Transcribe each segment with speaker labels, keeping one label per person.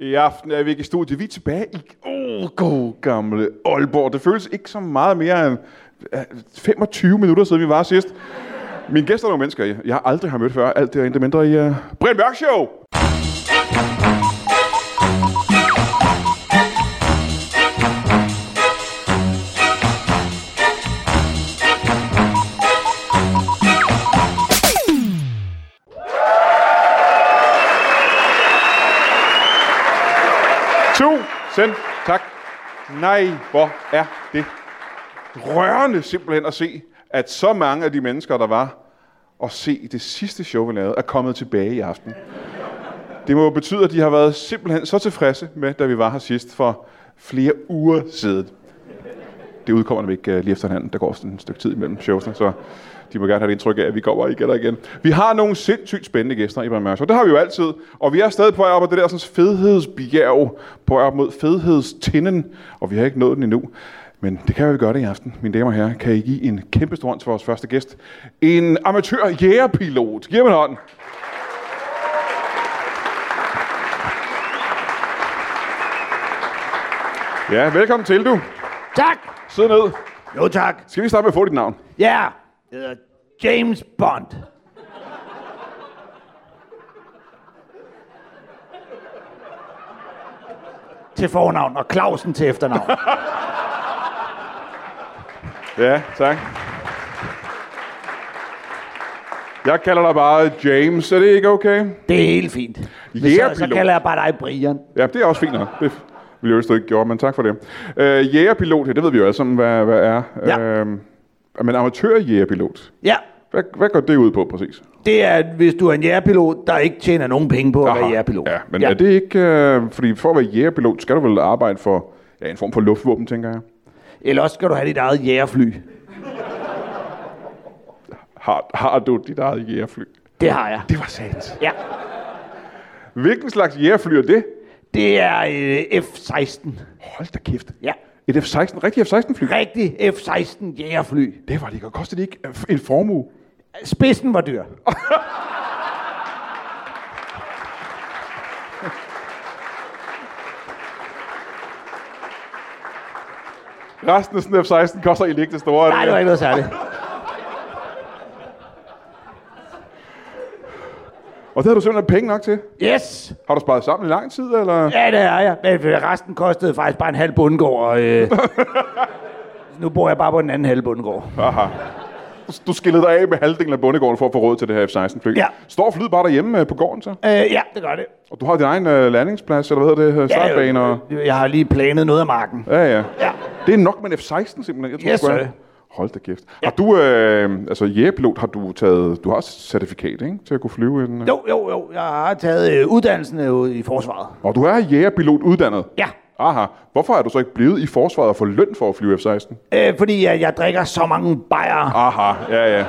Speaker 1: I aften er vi ikke i studiet. Vi er tilbage i oh, god gamle Aalborg. Det føles ikke så meget mere end øh, 25 minutter siden vi var sidst. Mine gæster er nogle mennesker, jeg- jeg aldrig har mødt før. Alt det er intet mindre i uh, Brian Mørk Show. Tusind tak. Nej, hvor er det rørende simpelthen at se, at så mange af de mennesker, der var og se det sidste show, vi lavede, er kommet tilbage i aften. Det må jo betyde, at de har været simpelthen så tilfredse med, da vi var her sidst for flere uger siden. Det udkommer nemlig ikke øh, lige efter hinanden. Der går sådan et stykke tid imellem showsene, så de må gerne have det indtryk af, at vi kommer igen og igen. Vi har nogle sindssygt spændende gæster i Brandmørs, og det har vi jo altid. Og vi er stadig på vej op ad det der sådan fedhedsbjerg, på vej op mod fedhedstinden, og vi har ikke nået den endnu. Men det kan vi gøre det i aften, mine damer og herrer. Kan I give en kæmpe stor hånd til vores første gæst? En amatør jægerpilot. Giv ham en hånd. Ja, velkommen til, du.
Speaker 2: Tak!
Speaker 1: Sid ned.
Speaker 2: Jo tak.
Speaker 1: Skal vi starte med at få dit navn?
Speaker 2: Ja, jeg hedder James Bond. Til fornavn og Clausen til efternavn.
Speaker 1: Ja, tak. Jeg kalder dig bare James. Er det ikke okay?
Speaker 2: Det er helt fint. Men
Speaker 1: Jægerpilot.
Speaker 2: så, så kalder jeg bare dig Brian.
Speaker 1: Ja, det er også fint nok. Det ville jeg jo ikke gjorde, men tak for det. Øh, jægerpilot, ja, det ved vi jo alle sammen, hvad, hvad er.
Speaker 2: Ja.
Speaker 1: Øh, men amatør-jægerpilot,
Speaker 2: Ja,
Speaker 1: hvad, hvad går det ud på præcis?
Speaker 2: det er, at hvis du er en jægerpilot, der ikke tjener nogen penge på at
Speaker 1: Aha,
Speaker 2: være jægerpilot.
Speaker 1: Ja, men ja. er det ikke... Øh, fordi for at være jægerpilot, skal du vel arbejde for ja, en form for luftvåben, tænker jeg.
Speaker 2: Eller også skal du have dit eget jægerfly.
Speaker 1: Har, har du dit eget jægerfly?
Speaker 2: Det har jeg.
Speaker 1: Det var sandt.
Speaker 2: Ja.
Speaker 1: Hvilken slags jægerfly er det?
Speaker 2: Det er øh, F-16.
Speaker 1: Hold da kæft.
Speaker 2: Ja.
Speaker 1: Et F-16, rigtig F-16-fly.
Speaker 2: Rigtig F-16 jægerfly.
Speaker 1: Det var det ikke. Kostede det ikke øh, en formue?
Speaker 2: Spidsen var dyr.
Speaker 1: Resten af sådan en F-16 koster egentlig ikke det store.
Speaker 2: Nej, det var ikke noget særligt.
Speaker 1: Og det har du simpelthen penge nok til.
Speaker 2: Yes!
Speaker 1: Har du sparet sammen i lang tid, eller? Ja.
Speaker 2: Ja, det er jeg. Men øh, resten kostede faktisk bare en halv bundgård, og øh, nu bor jeg bare på den anden halve bundgård.
Speaker 1: Du skillede dig af med halvdelen af bondegården for at få råd til det her F-16-fly.
Speaker 2: Ja.
Speaker 1: Står flyet bare derhjemme øh, på gården så?
Speaker 2: Øh, ja, det gør det.
Speaker 1: Og du har din egen øh, landingsplads, eller hvad hedder det? øh,
Speaker 2: Ja,
Speaker 1: Startbane og...
Speaker 2: øh, Jeg har lige planet noget af marken.
Speaker 1: Ja, ja.
Speaker 2: Ja.
Speaker 1: Det er nok med en F-16 simpelthen. Jeg tror,
Speaker 2: Yes,
Speaker 1: sgu, jeg-
Speaker 2: sir.
Speaker 1: Hold da kæft. Har du, øh, altså jægerpilot, har du taget, du har certifikat, ikke? Til at kunne flyve en... øh?
Speaker 2: Jo, jo, jo. Jeg har taget øh, uddannelsen øh, i forsvaret.
Speaker 1: Og du er jægerpilot uddannet?
Speaker 2: Ja.
Speaker 1: Aha. Hvorfor er du så ikke blevet i forsvaret og får løn for at flyve F-16?
Speaker 2: Øh, fordi jeg, jeg drikker så mange bajer,
Speaker 1: Aha, ja, ja.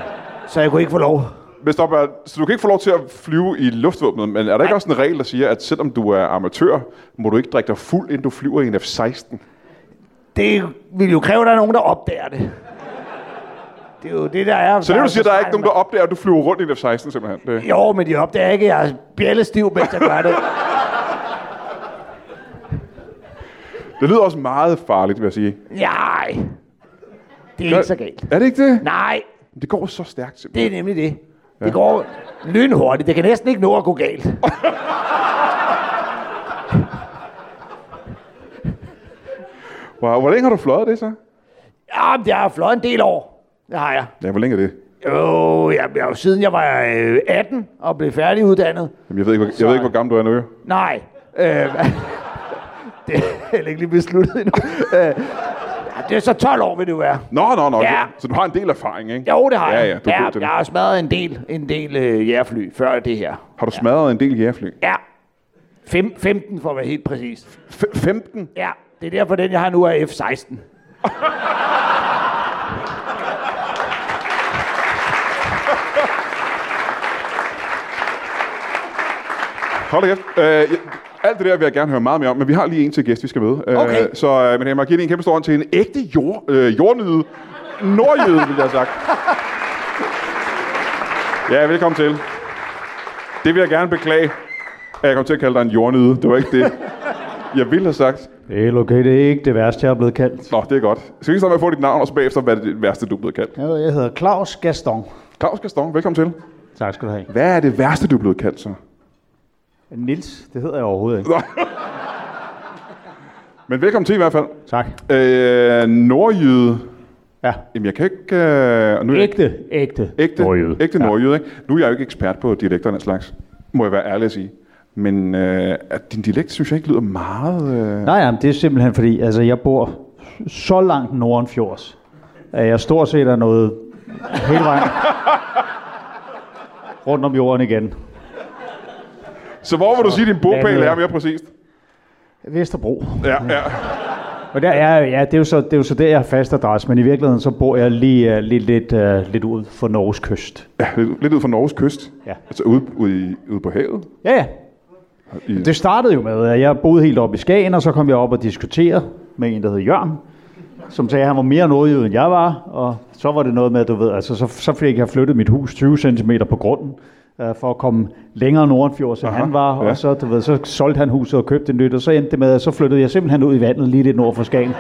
Speaker 2: så jeg kunne ikke få lov.
Speaker 1: Men stop, er- så du kan ikke få lov til at flyve i luftvåbnet, men er der ikke også en regel, der siger, at selvom du er amatør, må du ikke drikke dig fuld, inden du flyver i en F-16?
Speaker 2: Det vil jo kræve, at der er nogen, der opdager det. Det er jo det, der er.
Speaker 1: Så det, du siger, der er ikke
Speaker 2: så
Speaker 1: nogen, der opdager, at du flyver rundt i en F-16, simpelthen. Det.
Speaker 2: Jo, men de opdager ikke, at jeg er bjællestiv, mens jeg gør det.
Speaker 1: det lyder også meget farligt, vil jeg sige.
Speaker 2: Nej. Det er ikke så galt.
Speaker 1: Er det ikke det?
Speaker 2: Nej,
Speaker 1: Det går så stærkt, simpelthen.
Speaker 2: det er nemlig det. Det går lynhurtigt. Det kan næsten ikke nå at gå galt.
Speaker 1: Wow. Hvor længe har du fløjet det, så?
Speaker 2: Jamen, det har fløjet en del år. Det har jeg.
Speaker 1: Ja, hvor længe er det?
Speaker 2: Jo, jeg, jeg, jo siden jeg var øh, 18 og blev færdiguddannet.
Speaker 1: Jamen, jeg ved ikke, hvor, jeg ved ikke, hvor gammel du er nu. jo.
Speaker 2: Nej. Øh, det er heller ikke lige besluttet endnu. Øh, ja, det er så 12 år, vil det jo være.
Speaker 1: Nå, nå, nå.
Speaker 2: Ja.
Speaker 1: Så du har en del erfaring, ikke?
Speaker 2: Jo, det har
Speaker 1: ja,
Speaker 2: jeg.
Speaker 1: Ja, du er god til
Speaker 2: jeg
Speaker 1: det.
Speaker 2: har smadret en del, en del øh, jægerfly før det her.
Speaker 1: Har du smadret en del jægerfly?
Speaker 2: Ja. Fem, 15 for at være helt præcis.
Speaker 1: F- 15?
Speaker 2: Ja, det er derfor, den jeg har nu er F-16.
Speaker 1: Hold da kæft. Øh, jeg- alt det der vil jeg gerne høre meget mere om, men vi har lige en til gæst, vi skal med. Øh,
Speaker 2: Okay.
Speaker 1: Så øh, men jeg må give en kæmpe stor hånd til en ægte jord, øh, jordnyde. Nordjyde, vil jeg have sagt. Ja, velkommen til. Det vil jeg gerne beklage. Ja, Jeg kom til at kalde dig en jordnyde. Det var ikke det, jeg ville have sagt.
Speaker 3: Det er helt okay, det er ikke det værste, jeg er blevet kaldt.
Speaker 1: Nå, det er godt. Skal vi ikke starte med at få dit navn, og så bagefter, hvad er det værste, du er blevet kaldt?
Speaker 3: Jeg, ved, jeg hedder Claus Gaston.
Speaker 1: Claus Gaston, velkommen til.
Speaker 3: Tak skal du have.
Speaker 1: Hvad er det værste, du er blevet kaldt så?
Speaker 3: Nils, det hedder jeg overhovedet ikke.
Speaker 1: Nå. Men velkommen til i hvert fald.
Speaker 3: Tak.
Speaker 1: Øh, nordjyde.
Speaker 3: Ja.
Speaker 1: Jamen, jeg kan ikke... Øh, og nu er jeg-
Speaker 3: Ægte, ægte,
Speaker 1: ægte
Speaker 3: nordjyde.
Speaker 1: Ægte nordjyde, ikke? Nu er jeg jo ikke ekspert på dialekter og den slags, må jeg være ærlig at sige. Men øh, at din dialekt, synes jeg ikke lyder meget... Øh...
Speaker 3: Nej, jamen, det er simpelthen fordi, altså jeg bor så langt nordenfjords, at jeg stort set er noget hele vejen rundt om jorden igen.
Speaker 1: Så hvor vil du sige, at din bogpæl
Speaker 3: landet.
Speaker 1: er mere præcist?
Speaker 3: Vesterbro.
Speaker 1: Ja, ja.
Speaker 3: Og der er, ja, det er, jo så, det er jo så der, jeg har fast adresse, men i virkeligheden så bor jeg lige, uh, lige lidt, uh, lidt ud for Norges kyst.
Speaker 1: ja lidt, lidt ud fra Norges kyst.
Speaker 3: Ja.
Speaker 1: Altså ude, ude, i, ude på havet.
Speaker 3: Ja, ja.
Speaker 1: I,
Speaker 3: Det startede jo med, at jeg boede helt oppe i Skagen, og så kom jeg op og diskuterede med en, der hed Jørgen, som sagde, at han var mere nordjyde, end jeg var, og så var det noget med, at du ved, altså, så, så fik jeg flyttet mit hus 20 cm på grunden, øh, for at komme længere nordenfjords, end
Speaker 1: Aha,
Speaker 3: han var,
Speaker 1: ja.
Speaker 3: og så, du ved, så solgte han huset og købte det nyt, og så endte det med, at så flyttede jeg simpelthen ud i vandet lige lidt nord for Skagen,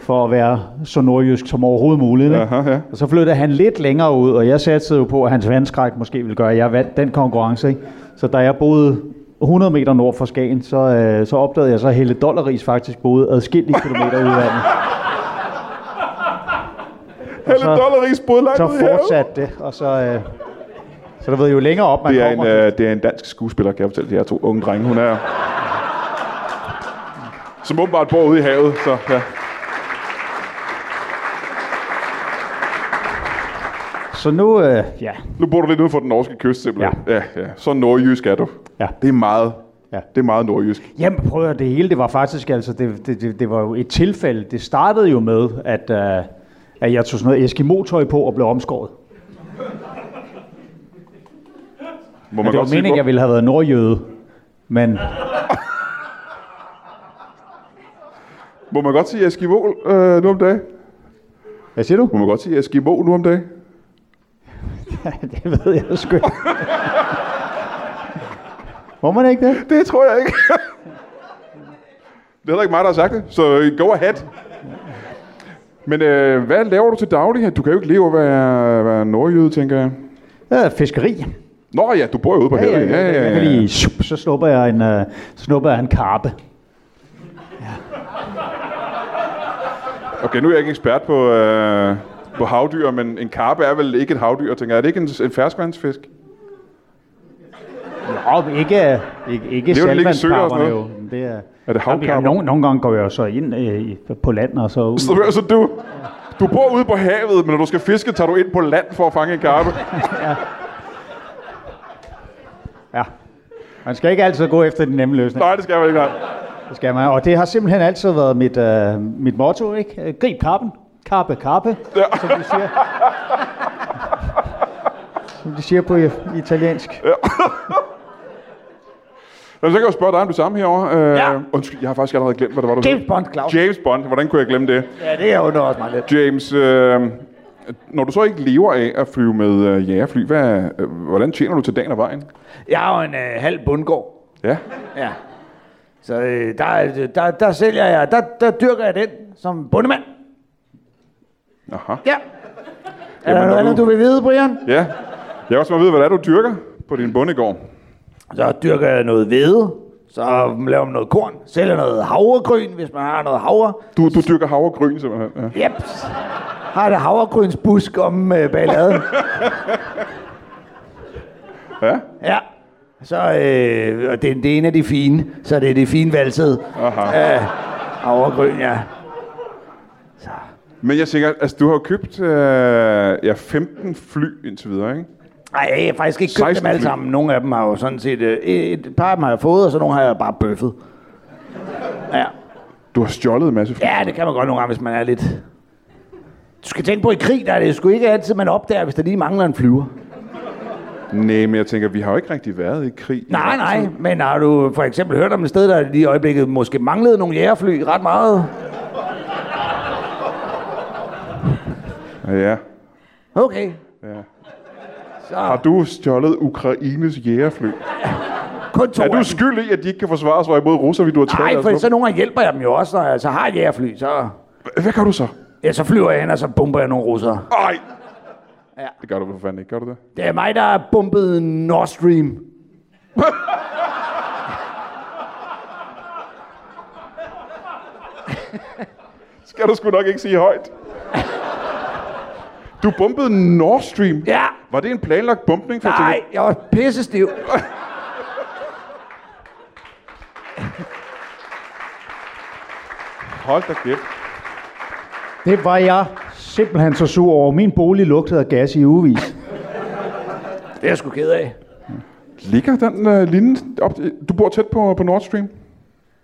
Speaker 3: for at være så nordjysk som overhovedet muligt. Ikke?
Speaker 1: Aha, ja.
Speaker 3: Og så flyttede han lidt længere ud, og jeg satsede jo på, at hans vandskræk måske ville gøre, at jeg vandt den konkurrence. Ikke? Så da jeg boede 100 meter nord for Skagen, så, øh, så opdagede jeg så, at hele Dollaris faktisk boede adskillige kilometer ud af vandet.
Speaker 1: Helle
Speaker 3: så-
Speaker 1: Dolleris boede langt
Speaker 3: Så
Speaker 1: ude i havet.
Speaker 3: fortsatte det, og så... Øh, så der ved jo længere op, man
Speaker 1: Det er, en,
Speaker 3: kommer.
Speaker 1: øh, det er en dansk skuespiller, kan jeg fortælle de her to unge drenge. Hun er... Som åbenbart bor ude i havet, så ja.
Speaker 3: Så nu, øh, ja,
Speaker 1: Nu bor du lidt uden for den norske kyst, simpelthen. Ja. ja, ja. Så nordjysk er du.
Speaker 3: Ja.
Speaker 1: Det er meget.
Speaker 3: Ja.
Speaker 1: Det er meget nordjysk.
Speaker 3: Jamen prøv at høre, det hele, det var faktisk altså, det, det, det, det var jo et tilfælde. Det startede jo med, at, øh, at jeg tog sådan noget Eskimo-tøj på og blev omskåret.
Speaker 1: Må
Speaker 3: Men det var
Speaker 1: sige,
Speaker 3: meningen,
Speaker 1: hvor-
Speaker 3: jeg ville have været nordjøde. Men
Speaker 1: Må man godt sige Eskimo øh, nu om dagen?
Speaker 3: hvad siger du?
Speaker 1: Må man godt sige Eskimo nu om dagen?
Speaker 3: det ved jeg sgu ikke. Må man ikke det?
Speaker 1: Det tror jeg ikke. det er heller ikke mig, der har sagt det, så go ahead. Men øh, hvad laver du til daglig? Du kan jo ikke leve af at være, være nordjyde, tænker jeg.
Speaker 3: Ja, fiskeri.
Speaker 1: Nå ja, du bor jo ude på havet.
Speaker 3: Jeg kan lige, shup, så snupper jeg en, uh, snupper jeg en karpe.
Speaker 1: Okay, nu er jeg ikke ekspert på, øh, på havdyr, men en karpe er vel ikke et havdyr, tænker jeg. Er det ikke en, en ferskvandsfisk?
Speaker 3: Nå, ikke, ikke, ikke
Speaker 1: Det er jo, den ligger i søer og sådan
Speaker 3: saltvandskarperne jo.
Speaker 1: noget.
Speaker 3: men Det er,
Speaker 1: Er det havkarper?
Speaker 3: Jamen, ja, nogle, nogle gange går jeg jo så ind øh, i- på land og så ud.
Speaker 1: Så, hører- så du, du bor ude på havet, men når du skal fiske, tager du ind på land for at fange en karpe.
Speaker 3: Ja. Man skal ikke altid gå efter den nemme løsning.
Speaker 1: Nej, det skal jeg vel ikke. nej.
Speaker 3: Det skal man. Og det har simpelthen altid været mit, øh, mit motto, ikke? Øh, Grib karpen. Karpe, karpe, ja. som de siger. som de siger på i- italiensk.
Speaker 1: Men så kan jeg jo spørge dig om det samme herovre. Øh,
Speaker 3: Ja.
Speaker 1: Undskyld, jeg har faktisk allerede glemt, hvad det var, du
Speaker 3: James Bond, Claus.
Speaker 1: sagde. James Bond. Hvordan kunne jeg glemme det?
Speaker 3: Ja, det er under også mig lidt.
Speaker 1: James, øh, når du så ikke lever af at flyve med øh, jagerfly, hvad, øh, hvordan tjener du til dagen og vejen?
Speaker 2: Jeg er jo en øh, halv bundgård.
Speaker 1: Ja,
Speaker 2: Ja. Så øh, der, der, der sælger jeg, der, der dyrker jeg den som bundemand.
Speaker 1: aha.
Speaker 2: Ja. Er der
Speaker 1: når
Speaker 2: noget andet,
Speaker 1: du-
Speaker 2: du vil vide, Brian?
Speaker 1: Ja, jeg vil også bare vide, hvad det er, du dyrker på din bondegård.
Speaker 2: Så dyrker jeg noget hvede. Så laver man noget korn. Sælger noget havregryn, hvis man har noget havre.
Speaker 1: Du, du dyrker havregryn, simpelthen. Ja.
Speaker 2: Yep. Har det havregrynsbusk om øh, balladen.
Speaker 1: ja.
Speaker 2: Ja. Så, øh, og det, er- det er en af de fine, så det er de fine valsede.
Speaker 1: Aha.
Speaker 2: Øh, havregryn, ja.
Speaker 1: Men jeg tænker, altså du har jo købt øh, ja, 15 fly indtil videre, ikke?
Speaker 2: Nej, jeg har faktisk ikke købt
Speaker 1: 16
Speaker 2: dem alle
Speaker 1: fly.
Speaker 2: sammen. Nogle af dem har jo sådan set... øh, Et et par af dem har jeg fået, og så nogle har jeg bare bøffet. Ja.
Speaker 1: Du har stjålet en masse fly.
Speaker 2: ja, det kan man godt nogle gange, hvis man er lidt... Du skal tænke på, i krig, der er det sgu ikke altid, man opdager, hvis der lige mangler en flyver.
Speaker 1: Nej, men jeg tænker, vi har jo ikke rigtig været i krig.
Speaker 2: Nej, altså-
Speaker 1: i lang tid.
Speaker 2: nej, men har du for eksempel hørt om et sted, der lige i øjeblikket måske manglede nogle jægerfly ret meget?
Speaker 1: Ja.
Speaker 2: Okay.
Speaker 1: Ja.
Speaker 2: Så,
Speaker 1: Har du stjålet Ukraines jægerfly?
Speaker 2: kun to
Speaker 1: Er
Speaker 2: af
Speaker 1: du
Speaker 2: dem.
Speaker 1: skyld i, at de ikke kan forsvare sig imod russer, fordi du har taget
Speaker 2: Nej,
Speaker 1: deres
Speaker 2: for
Speaker 1: våben?
Speaker 2: så nogle gange hjælper jeg dem jo også, når jeg så har et jægerfly, så...
Speaker 1: Hvad gør du så?
Speaker 2: Ja, så flyver jeg hen, og så bomber jeg nogle russere.
Speaker 1: Ej!
Speaker 2: Ja.
Speaker 1: Det gør du for fanden ikke, gør du det?
Speaker 2: Det er mig, der har bombet Nord Stream.
Speaker 1: Skal du sgu nok ikke sige højt. Du bombede Nord Stream.
Speaker 2: Ja,
Speaker 1: Var det en planlagt bombning? For jeg
Speaker 2: nej,
Speaker 1: tænker-
Speaker 2: jeg var pissestiv.
Speaker 1: Hold da kæft.
Speaker 3: Det var jeg simpelthen så sur over. Min bolig lugtede af gas i ugevis.
Speaker 2: Det er jeg sgu ked af.
Speaker 1: Ligger den øh, linje op? Du bor tæt på, på Nord Stream?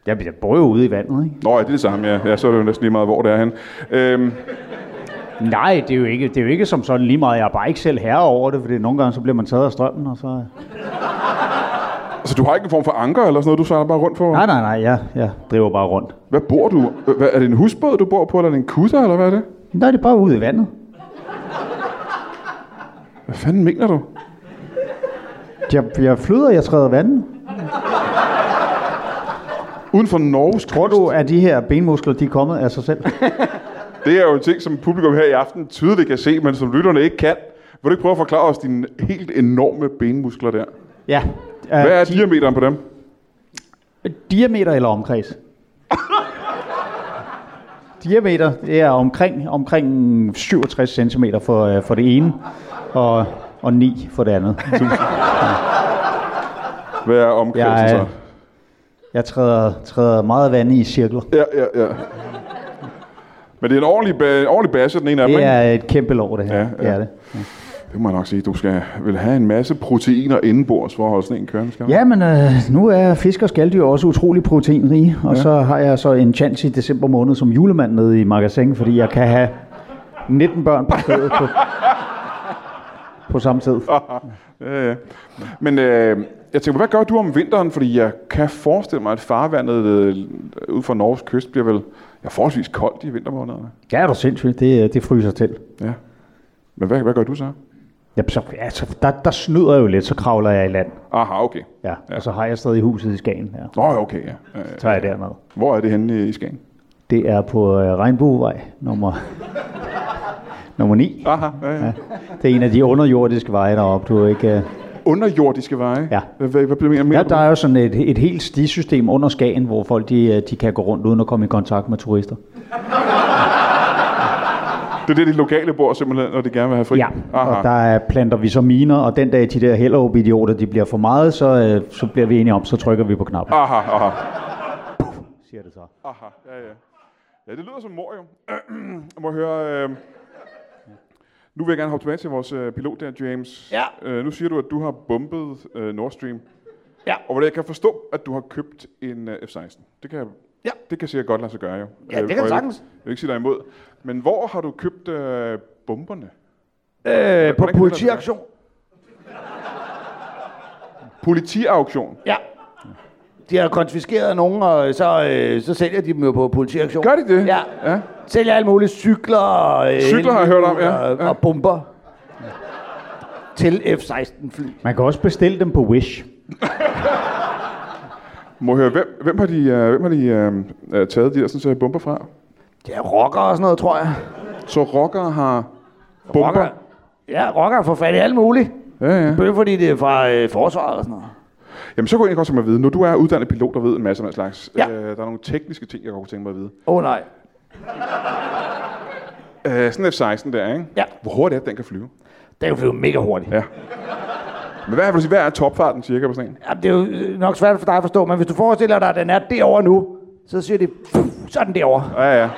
Speaker 3: Jeg, jeg bor jo ude i vandet, ikke?
Speaker 1: Nå, ja, det er det samme, ja. ja. Så er det jo næsten lige meget, hvor det er henne. Øhm,
Speaker 3: Nej, det er, jo ikke, det er jo ikke som sådan lige meget. Jeg er bare ikke selv herre over det, fordi nogle gange så bliver man taget af strømmen, og så...
Speaker 1: så du har ikke en form for anker eller sådan noget, du sejler bare rundt på?
Speaker 3: Nej, nej, nej, jeg, jeg driver bare rundt.
Speaker 1: Hvad bor du? Øh, Hvad, er det en husbåd, du bor på, eller er det en kutter, eller hvad er det?
Speaker 3: Nej, det er bare ude i vandet.
Speaker 1: Hvad fanden mener du?
Speaker 3: Jeg, jeg flyder, jeg træder vandet.
Speaker 1: Uden for Norges
Speaker 3: Tror du, at de her benmuskler, de er kommet af sig selv?
Speaker 1: Det er jo en ting, som publikum her i aften tydeligt kan se, men som lytterne ikke kan. Vil du ikke prøve at forklare os dine helt enorme benmuskler der?
Speaker 3: ja. Øh,
Speaker 1: Hvad er diameteren på dem?
Speaker 3: Diameter eller omkreds? Diameter, det er omkring, omkring 67 cm for, øh, for det ene, og, og 9 for det andet.
Speaker 1: Hvad er omkredsen
Speaker 3: Jeg
Speaker 1: så?
Speaker 3: er- Jeg træder, træder meget vand i cirkler.
Speaker 1: Ja, ja, ja. Men det er en ordentlig, ba- en ordentlig basse, den ene af dem,
Speaker 3: Det
Speaker 1: ikke?
Speaker 3: er et kæmpe lov, det her.
Speaker 1: Ja, ja.
Speaker 3: Ja, ja. Det er det.
Speaker 1: Det må jeg nok sige. Du skal vel have en masse proteiner indenbords for at holde sådan en kørende, skal du?
Speaker 3: Ja, men øh, nu er fisk og skalddyr også utrolig proteinrige, og ja. så har jeg så en chance i december måned som julemand nede i magasin, fordi jeg kan have 19 børn på stedet på, på samme tid.
Speaker 1: Ja, ja. Men øh, jeg tænker, hvad gør du om vinteren? Fordi jeg kan forestille mig, at farvandet øh, ud fra Norges kyst bliver vel ja, forholdsvis koldt i vintermånederne.
Speaker 3: Ja, er du sindssygt, det, øh, det fryser til.
Speaker 1: Ja. Men hvad, hvad gør du så?
Speaker 3: Ja, så, altså, der, der snyder jeg jo lidt, så kravler jeg i land.
Speaker 1: Aha, okay.
Speaker 3: Ja, ja. og så har jeg stadig huset i Skagen her.
Speaker 1: Nå, ja, okay, ja. Ja, ja.
Speaker 3: Så er jeg dernede.
Speaker 1: Hvor er det henne i Skagen?
Speaker 3: Det er på øh, Regnbuevej nummer, nummer 9.
Speaker 1: Aha, ja, ja.
Speaker 3: Det er en af de underjordiske veje deroppe, du ikke... Øh,
Speaker 1: Underjordiske veje?
Speaker 3: Ja.
Speaker 1: Hvad, hvad, hvad mener du?
Speaker 3: Ja, der er jo sådan et, et helt stisystem under Skagen, hvor folk de, øh, de kan gå rundt uden at komme i kontakt med turister.
Speaker 1: Det er det, de lokale bor simpelthen, når de gerne vil have fri?
Speaker 3: Ja,
Speaker 1: Aha.
Speaker 3: og der er planter vi så miner, og den dag de der Hellerup-idioter de bliver for meget, så, øh, så bliver vi enige om, så trykker vi på knappen,
Speaker 1: Aha, aha,
Speaker 3: siger det så.
Speaker 1: aha. Ja, ja. ja, det lyder som mor jo. Jeg må høre... Øh... Nu vil jeg gerne hoppe tilbage til vores øh, pilot der, James.
Speaker 2: Ja.
Speaker 1: Øh, nu siger du, at du har bombet øh, Nord Stream.
Speaker 2: Ja.
Speaker 1: Og hvordan jeg kan forstå, at du har købt en øh, F-16. Det kan jeg
Speaker 2: Ja.
Speaker 1: Det kan sikkert godt lade sig gøre, jo.
Speaker 2: Ja, det
Speaker 1: Øh,
Speaker 2: kan
Speaker 1: for jeg-
Speaker 2: sagtens.
Speaker 1: Jeg vil ikke sige dig imod. Men hvor har du købt øh, bomberne?
Speaker 2: Øh, på
Speaker 1: kan det
Speaker 2: politiaktion.
Speaker 1: Politiauktion.
Speaker 2: Ja. De har konfiskeret nogen, og så, øh, så sælger de dem jo på politiaktion.
Speaker 1: Gør de det?
Speaker 2: Ja.
Speaker 1: ja.
Speaker 2: Sælger alle mulige cykler og... Øh,
Speaker 1: Cykler har jeg hørt om, ja.
Speaker 2: Og,
Speaker 1: Ja.
Speaker 2: og bomber. Til F-16-fly.
Speaker 3: Man kan også bestille dem på Wish.
Speaker 1: Må jeg høre, hvem, hvem har de, øh, hvem har de øh, øh, taget de der sådan, så bomber fra?
Speaker 2: Ja, rocker og sådan noget, tror jeg.
Speaker 1: Så rockere har bomber?
Speaker 2: Rocker. Ja, rocker får fat i alt muligt.
Speaker 1: Ja, ja.
Speaker 2: Bøger, fordi det er fra øh, forsvaret og sådan noget.
Speaker 1: Jamen, så kunne jeg egentlig godt tænke mig at vide. Nu du er uddannet pilot og ved en masse af den slags.
Speaker 2: Ja.
Speaker 1: Øh, der er nogle tekniske ting, jeg godt kunne tænke mig at vide.
Speaker 2: Åh oh, nej.
Speaker 1: Øh, sådan en F-16 der, ikke?
Speaker 2: Ja.
Speaker 1: Hvor hurtigt er det, den kan flyve?
Speaker 2: Den kan flyve mega hurtigt.
Speaker 1: Ja. Men hvad, vil du sige, hvad er topfarten cirka på sådan en?
Speaker 2: Jamen, det er jo øh, nok svært for dig at forstå, men hvis du forestiller dig, at den er derovre nu, så siger de, "Puh, så er den derovre.
Speaker 1: Ja, ja.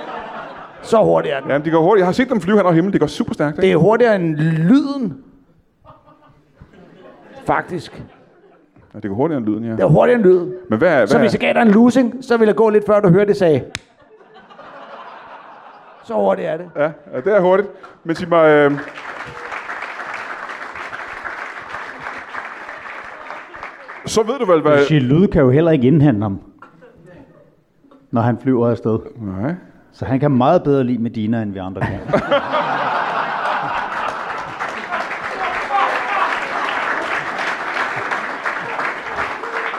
Speaker 2: Så hurtigt er den.
Speaker 1: Jamen, de går hurtigt. Jeg har set dem flyve hen over himlen. Det går super stærkt, ikke?
Speaker 2: Det er hurtigere end lyden. Faktisk.
Speaker 1: Ja, det går hurtigere end lyden, ja.
Speaker 2: Det er hurtigere end lyden.
Speaker 1: Men hvad, hvad
Speaker 2: Så hvis jeg gav dig en losing, så ville jeg gå lidt før, du hørte det sagde. Så hurtigt er det.
Speaker 1: Ja, ja, det er hurtigt. Men sig mig... Øh... Så ved du vel, hvad...
Speaker 3: Sige, lyd kan jo heller ikke indhandle ham, når han flyver afsted.
Speaker 1: Nej.
Speaker 3: Så han kan meget bedre lide Medina, end vi andre kan.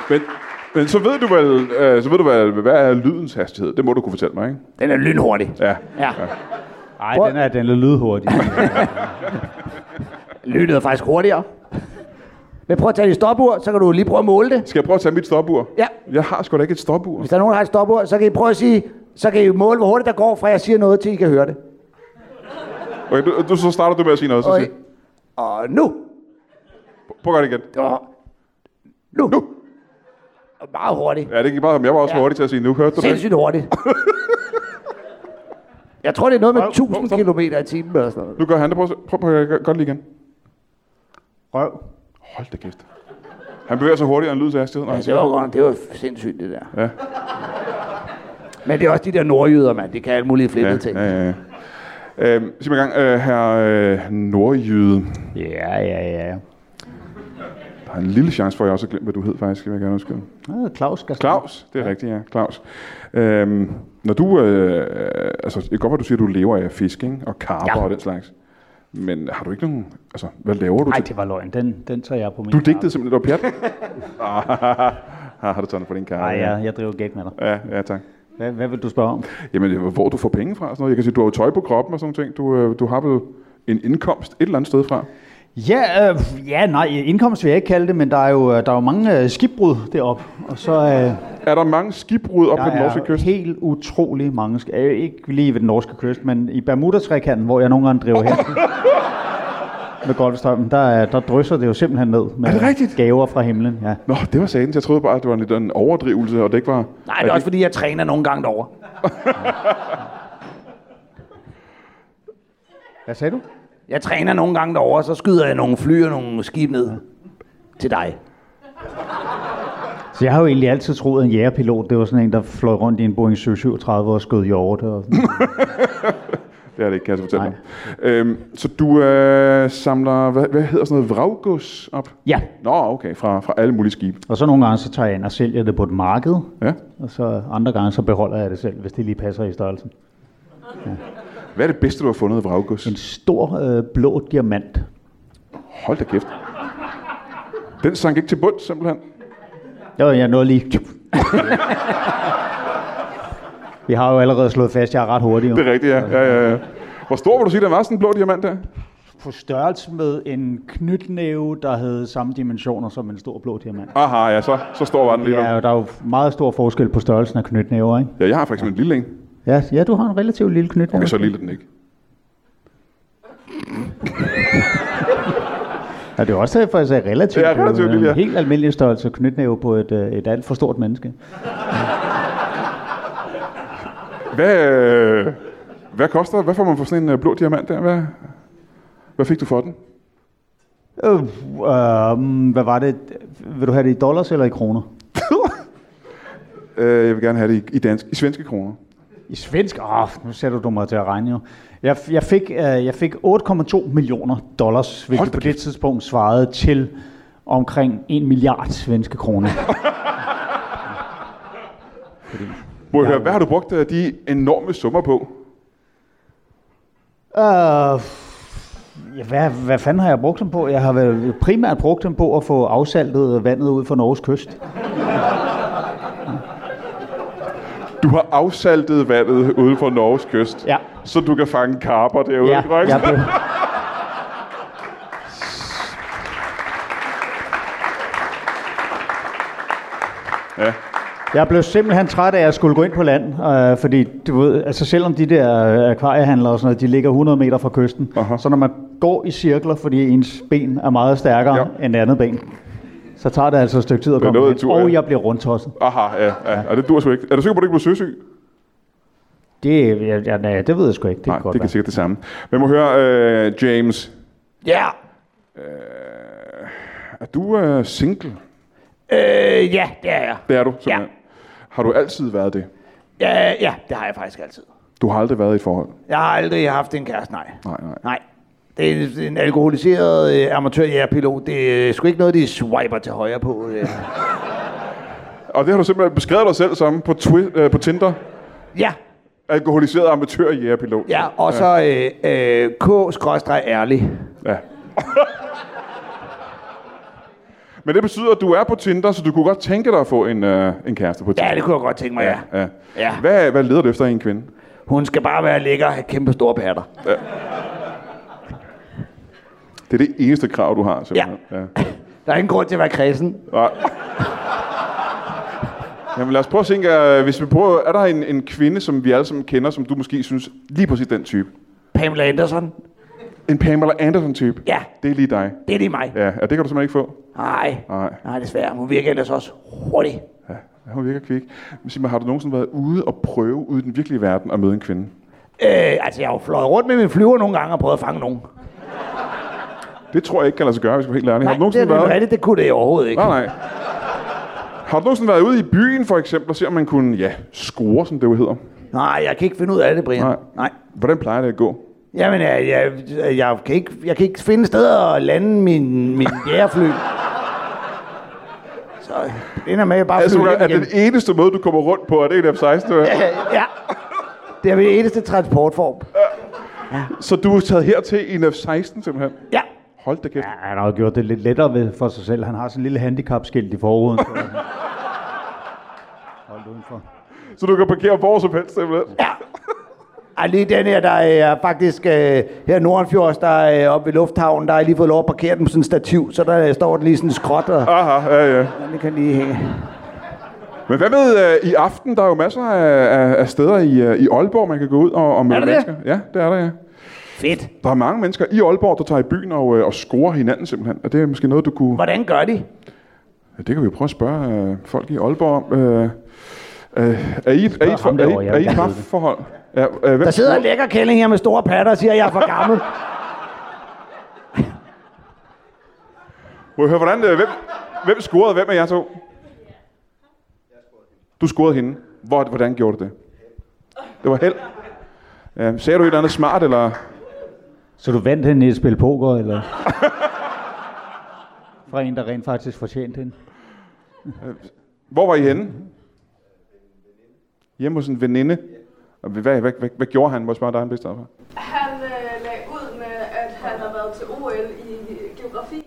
Speaker 1: Men, men så ved du vel, øh, så ved du vel, hvad er lydens hastighed? Det må du kunne fortælle mig, ikke?
Speaker 2: Den er lynhurtig.
Speaker 1: Ja.
Speaker 2: Ja.
Speaker 3: Nej, den er, den er lydhurtig.
Speaker 2: Lynet er faktisk hurtigere. Men prøv at tage dit stopur, så kan du lige prøve at måle det.
Speaker 1: Skal jeg prøve at tage mit stopur?
Speaker 2: Ja.
Speaker 1: Jeg har sgu da ikke et stopur.
Speaker 2: Hvis der er nogen, der har et stopur, så kan I prøve at sige, så kan I måle, hvor hurtigt der går, fra jeg siger noget, til I kan høre det.
Speaker 1: Okay, du, du, så starter du med at sige noget. Så
Speaker 2: Og,
Speaker 1: sig,
Speaker 2: og nu.
Speaker 1: prøv at gøre det igen.
Speaker 2: Det var... Nu. nu. Meget hurtigt.
Speaker 1: Ja, det gik bare, jeg var også
Speaker 2: Ja.
Speaker 1: hurtig til at sige, nu hørte du det.
Speaker 2: Sindssygt hurtigt. Jeg tror, det er noget med 1000 km i timen eller sådan noget.
Speaker 1: Nu gør han det. Prøv, at- prøv, prøv, prøv godt lige igen.
Speaker 3: Røv.
Speaker 1: Hold da kæft. Han bevæger sig hurtigere end lydens hastighed, når han
Speaker 2: Det
Speaker 1: siger
Speaker 2: var, godt, det var sindssygt, det der.
Speaker 1: Ja.
Speaker 2: Men det er også de der nordjyder, mand. Det kan alle mulige flippede ting.
Speaker 1: Ja, ja, ja. Øhm, sig mig en gang, øh, her øh, Nordjyde.
Speaker 3: Ja, ja, ja.
Speaker 1: Der er en lille chance for, at jeg også har glemt, hvad du hed faktisk, vil jeg gerne undskylde.
Speaker 3: Ah, Claus skal
Speaker 1: Claus, det er rigtigt, ja. Claus. Øhm, når du, øh, altså, det er godt, at du siger, at du lever af fisk, ikke? Og karper ja.
Speaker 2: Ja.
Speaker 1: og den slags. Men har du ikke nogen, altså, hvad laver du
Speaker 3: Nej,
Speaker 1: til?
Speaker 3: det var løgn. Den, den tager jeg på min
Speaker 1: Du digtede simpelthen, det var pjat. Ah, har du taget den for din karpe?
Speaker 3: Nej, ja, jeg driver gæk med dig.
Speaker 1: ja. Ja, tak.
Speaker 3: Hvad, hvad vil du spørge om?
Speaker 1: Jamen, øh, hvor du får penge fra og sådan noget. Jeg kan sige, du har jo tøj på kroppen og sådan noget. Du, øh, du har vel en indkomst et eller andet sted fra.
Speaker 3: Ja, øh, ja, nej, indkomst vil jeg ikke kalde det, men der er jo, øh, der er jo mange øh, skibbrud deroppe. Og så øh, der
Speaker 1: Er der mange skibbrud op ved den norske
Speaker 3: er
Speaker 1: kyst?
Speaker 3: helt utrolig mange sk- øh, Ikke lige ved den norske kyst, men i Bermudatrækanten, hvor jeg nogle gange driver hen med golfstrømmen, der, er- der drysser det jo simpelthen ned med
Speaker 1: Er det rigtigt?
Speaker 3: gaver fra himlen. Ja.
Speaker 1: Nå, det var sadens. Jeg troede bare, at det var lidt en overdrivelse, og det ikke var...
Speaker 2: Nej, det er også fordi, jeg træner nogle gange derovre.
Speaker 3: Hvad sagde du?
Speaker 2: Jeg træner nogle gange derovre, så skyder jeg nogle fly og nogle skib ned til dig.
Speaker 3: Så jeg har jo egentlig altid troet, at en jægerpilot, det var sådan en, der fløj rundt i en Boeing 737 og skød hjorte. Og sådan.
Speaker 1: Det er det ikke, kan jeg så fortælle dig. Øhm, så du øh, samler, hvad, hvad hedder sådan noget, vraggods op?
Speaker 3: ja,
Speaker 1: Nå, okay, fra, fra alle mulige skibe.
Speaker 3: og så nogle gange så tager jeg ind og sælger det på et marked,
Speaker 1: Ja.
Speaker 3: og så andre gange så beholder jeg det selv, hvis det lige passer i størrelsen.
Speaker 1: Hvad er det bedste, du har fundet af vraggods?
Speaker 3: En stor øh, blå diamant.
Speaker 1: Hold da kæft. Den sank ikke til bund, simpelthen.
Speaker 3: Der var jeg nåede lige... Vi har jo allerede slået fast, at jeg er ret hurtig. Jo.
Speaker 1: Det er rigtigt, ja. ja, ja, ja. Hvor stor vil du sige, den var, sådan en blå diamant der?
Speaker 3: På størrelse med en knytnæve, der havde samme dimensioner som en stor blå diamant.
Speaker 1: Aha, ja, så, så stor var den lige nu.
Speaker 3: Ja, der er jo meget stor forskel på størrelsen af knytnæver, ikke?
Speaker 1: Ja, jeg har for eksempel en lille en.
Speaker 3: Ja, ja du har en relativt lille knytnæve.
Speaker 1: Okay, så lille er den ikke.
Speaker 3: Ja, det er også derfor, jeg sagde relativt.
Speaker 1: Ja, relativt
Speaker 3: Det er jo
Speaker 1: lille, ja.
Speaker 3: En helt almindelig størrelse knytnæve på et, øh, et alt for stort menneske.
Speaker 1: Hvad, øh, hvad koster, hvad får man for sådan en øh, blå diamant der? Hvad, hvad fik du for den?
Speaker 3: Øh, øh, hvad var det? Vil du have det i dollars eller i kroner?
Speaker 1: øh, jeg vil gerne have det i, i, dansk, i svenske kroner.
Speaker 3: I svensk? Åh, nu sætter du mig til at regne jo. Jeg, f- jeg fik, øh, jeg fik 8,2 millioner dollars,
Speaker 1: Hold
Speaker 3: hvilket
Speaker 1: da
Speaker 3: på det tidspunkt svarede til omkring 1 milliard svenske kroner.
Speaker 1: Må jeg høre, hvad har du brugt øh, de enorme summer på?
Speaker 3: Øh, ja, hvad, hvad fanden har jeg brugt dem på? Jeg har vel primært brugt dem på at få afsaltet vandet ud fra Norges kyst.
Speaker 1: Du har afsaltet vandet ude for Norges kyst,
Speaker 3: Ja.
Speaker 1: så du kan fange karper derude.
Speaker 3: Ja,
Speaker 1: ikke?
Speaker 3: jeg blev...
Speaker 1: Ja.
Speaker 3: Jeg blev simpelthen træt af, at jeg skulle gå ind på land, øh, fordi du ved, altså selvom de der øh, akvariehandlere og sådan noget, de ligger 100 meter fra kysten,
Speaker 1: Aha.
Speaker 3: så når man går i cirkler, fordi ens ben er meget stærkere
Speaker 1: Ja.
Speaker 3: ja. end det andet ben, så tager det altså et stykke tid at
Speaker 1: Det er
Speaker 3: komme
Speaker 1: noget
Speaker 3: hen,
Speaker 1: tur,
Speaker 3: og
Speaker 1: ja.
Speaker 3: jeg bliver rundtosset.
Speaker 1: Aha, ja, ja. Og det dur sgu ikke. Er du sikker på, at du ikke blev søsyg?
Speaker 3: Det, ja, ja, nej, det ved jeg sgu ikke. Det
Speaker 1: Nej,
Speaker 3: kan godt
Speaker 1: det kan
Speaker 3: være.
Speaker 1: sikkert det samme. Men må høre, øh, James,
Speaker 2: Ja.
Speaker 1: er du øh, single?
Speaker 2: Øh, ja, det er jeg.
Speaker 1: Det er du, simpelthen. Har du altid været det?
Speaker 2: Ja, ja, det har jeg faktisk altid.
Speaker 1: Du har aldrig været i et forhold?
Speaker 2: Jeg har aldrig haft en kæreste, nej.
Speaker 1: Nej, nej.
Speaker 2: Nej. Det er en- en alkoholiseret øh, amatørjægerpilot. Det er sgu ikke noget, de swiper til højre på. Øh.
Speaker 1: Og det har du simpelthen beskrevet dig selv som på, twi- øh, på Tinder.
Speaker 2: Ja,
Speaker 1: Alkoholiseret amatør jægerpilot.
Speaker 2: ja, og så øh, øh, K-ærlig.
Speaker 1: ja. Men det betyder, at du er på Tinder, så du kunne godt tænke dig at få en, øh, en kæreste på Tinder.
Speaker 2: Ja, det kunne jeg godt tænke mig, ja.
Speaker 1: Ja.
Speaker 2: Ja.
Speaker 1: Hvad, hvad leder du efter i en kvinde?
Speaker 2: Hun skal bare være lækker og have kæmpe store patter.
Speaker 1: Det er det eneste krav, du har, simpelthen. ja.
Speaker 2: Der er ingen grund til at være kredsen.
Speaker 1: Nej. Jamen lad os prøve at tænke, øh, hvis vi prøver, er der en, en kvinde, som vi alle sammen kender, som du måske synes lige præcis den type?
Speaker 2: Pamela Anderson.
Speaker 1: En Pamela Anderson-type?
Speaker 2: Ja,
Speaker 1: Det er lige dig.
Speaker 2: det er lige mig.
Speaker 1: Ja, ja, det kan du simpelthen ikke få.
Speaker 2: Nej.
Speaker 1: Nej.
Speaker 2: Nej, desværre. Hun virker ellers også hurtig.
Speaker 1: Ja, hun virker kvik. Men sig mig, har du nogensinde været ude og prøve ude i den virkelige verden at møde en kvinde?
Speaker 2: Øh, altså, jeg har jo fløjet rundt med min flyver nogle gange og prøvet at fange nogen.
Speaker 1: Det tror jeg ikke kan lade sig gøre, hvis jeg skal være helt ærlig. har du
Speaker 2: det er
Speaker 1: nogensinde
Speaker 2: nemlig
Speaker 1: været...
Speaker 2: rigtigt. Det kunne det overhovedet ikke.
Speaker 1: Nej, nej. Har du nogensinde været ude i byen, for eksempel, og se, om man kunne, ja, score, som det jo hedder?
Speaker 2: Nej, jeg kan ikke finde ud af det, Brian.
Speaker 1: Nej.
Speaker 2: Nej.
Speaker 1: Hvordan plejer det at gå?
Speaker 2: Jamen, jeg, jeg, øh, jeg, kan ikke, jeg kan ikke finde steder at lande min, min jægerfly. Så det ender med, at jeg bare
Speaker 1: Altså,
Speaker 2: flyver
Speaker 1: er
Speaker 2: hjem
Speaker 1: den
Speaker 2: igen.
Speaker 1: eneste måde, du kommer rundt på, er det en F-16? eller?
Speaker 2: Øh, Ja, det er min eneste transportform.
Speaker 1: Så du er taget hertil i en F-16, simpelthen?
Speaker 2: Ja,
Speaker 1: Hold da kæft. Ja.
Speaker 3: Ja, han har jo gjort det lidt lettere ved for sig selv. Han har sådan en lille handicapskilt i forruden. så han- Hold udenfor.
Speaker 1: Så du kan parkere hvor som helst, simpelthen?
Speaker 2: ja. Ej, lige den her, der er faktisk øh, her i Nordenfjords, der er øh, oppe ved Lufthavnen, der har jeg lige fået lov at parkere den på sådan en stativ, så der øh, står den lige sådan en skråt, og
Speaker 1: Aha, ja, ja.
Speaker 2: den kan lige hænge.
Speaker 1: Men hvad med øh, i aften? Der er jo masser af, af, af steder i, øh, i Aalborg, man kan gå ud og, og møde
Speaker 2: Er der det?
Speaker 1: mennesker. Ja, det er der, ja.
Speaker 2: Fedt.
Speaker 1: Der er mange mennesker i Aalborg, der tager i byen og, øh, og scorer hinanden, simpelthen. Og det er måske noget, du kunne...
Speaker 2: Hvordan gør de?
Speaker 1: Ja, det kan vi jo prøve at spørge øh, folk i Aalborg om. Øh, øh, er I, er I, for,
Speaker 3: ham
Speaker 1: er
Speaker 3: derovre,
Speaker 1: I,
Speaker 3: jeg
Speaker 1: er I
Speaker 3: ved det.
Speaker 1: parforhold? Ja, øh, hvem
Speaker 2: Der sidder en
Speaker 1: scorer?
Speaker 2: lækker kælling her med store patter og siger, at jeg er for gammel.
Speaker 1: Må jeg høre, hvordan, øh, hvem, hvem scorede? Hvem af jer to? Du scorede hende. Hvor, hvordan gjorde du det? Det var held. Ja, sagde du et eller andet smart, eller...
Speaker 3: Så du vandt hende i et spil poker, eller? Fra en, der rent faktisk fortjente hende.
Speaker 1: Hvor var I henne? Hjemme hos en veninde. Og Hvad, hvad, hvad, hvad gjorde han? Må jeg spørge dig, Anders Christoffer?
Speaker 4: Han øh, lagde ud med, at han har været til OL i geografi.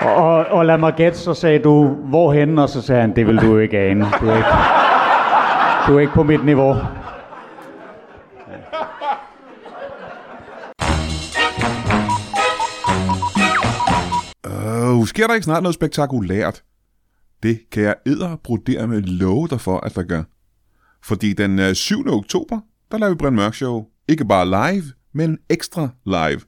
Speaker 3: Og, og lad mig gætte, så sagde du, hvorhen? Og så sagde han, det vil du ikke ane. Du er ikke, du er ikke på mit niveau.
Speaker 1: Øh, sker der ikke snart noget spektakulært? Det kan jeg edderbrudere med love dig for, at der gør. Fordi den øh, 7. oktober, der laver vi Brian Mørk Show. Ikke bare live, men ekstra live.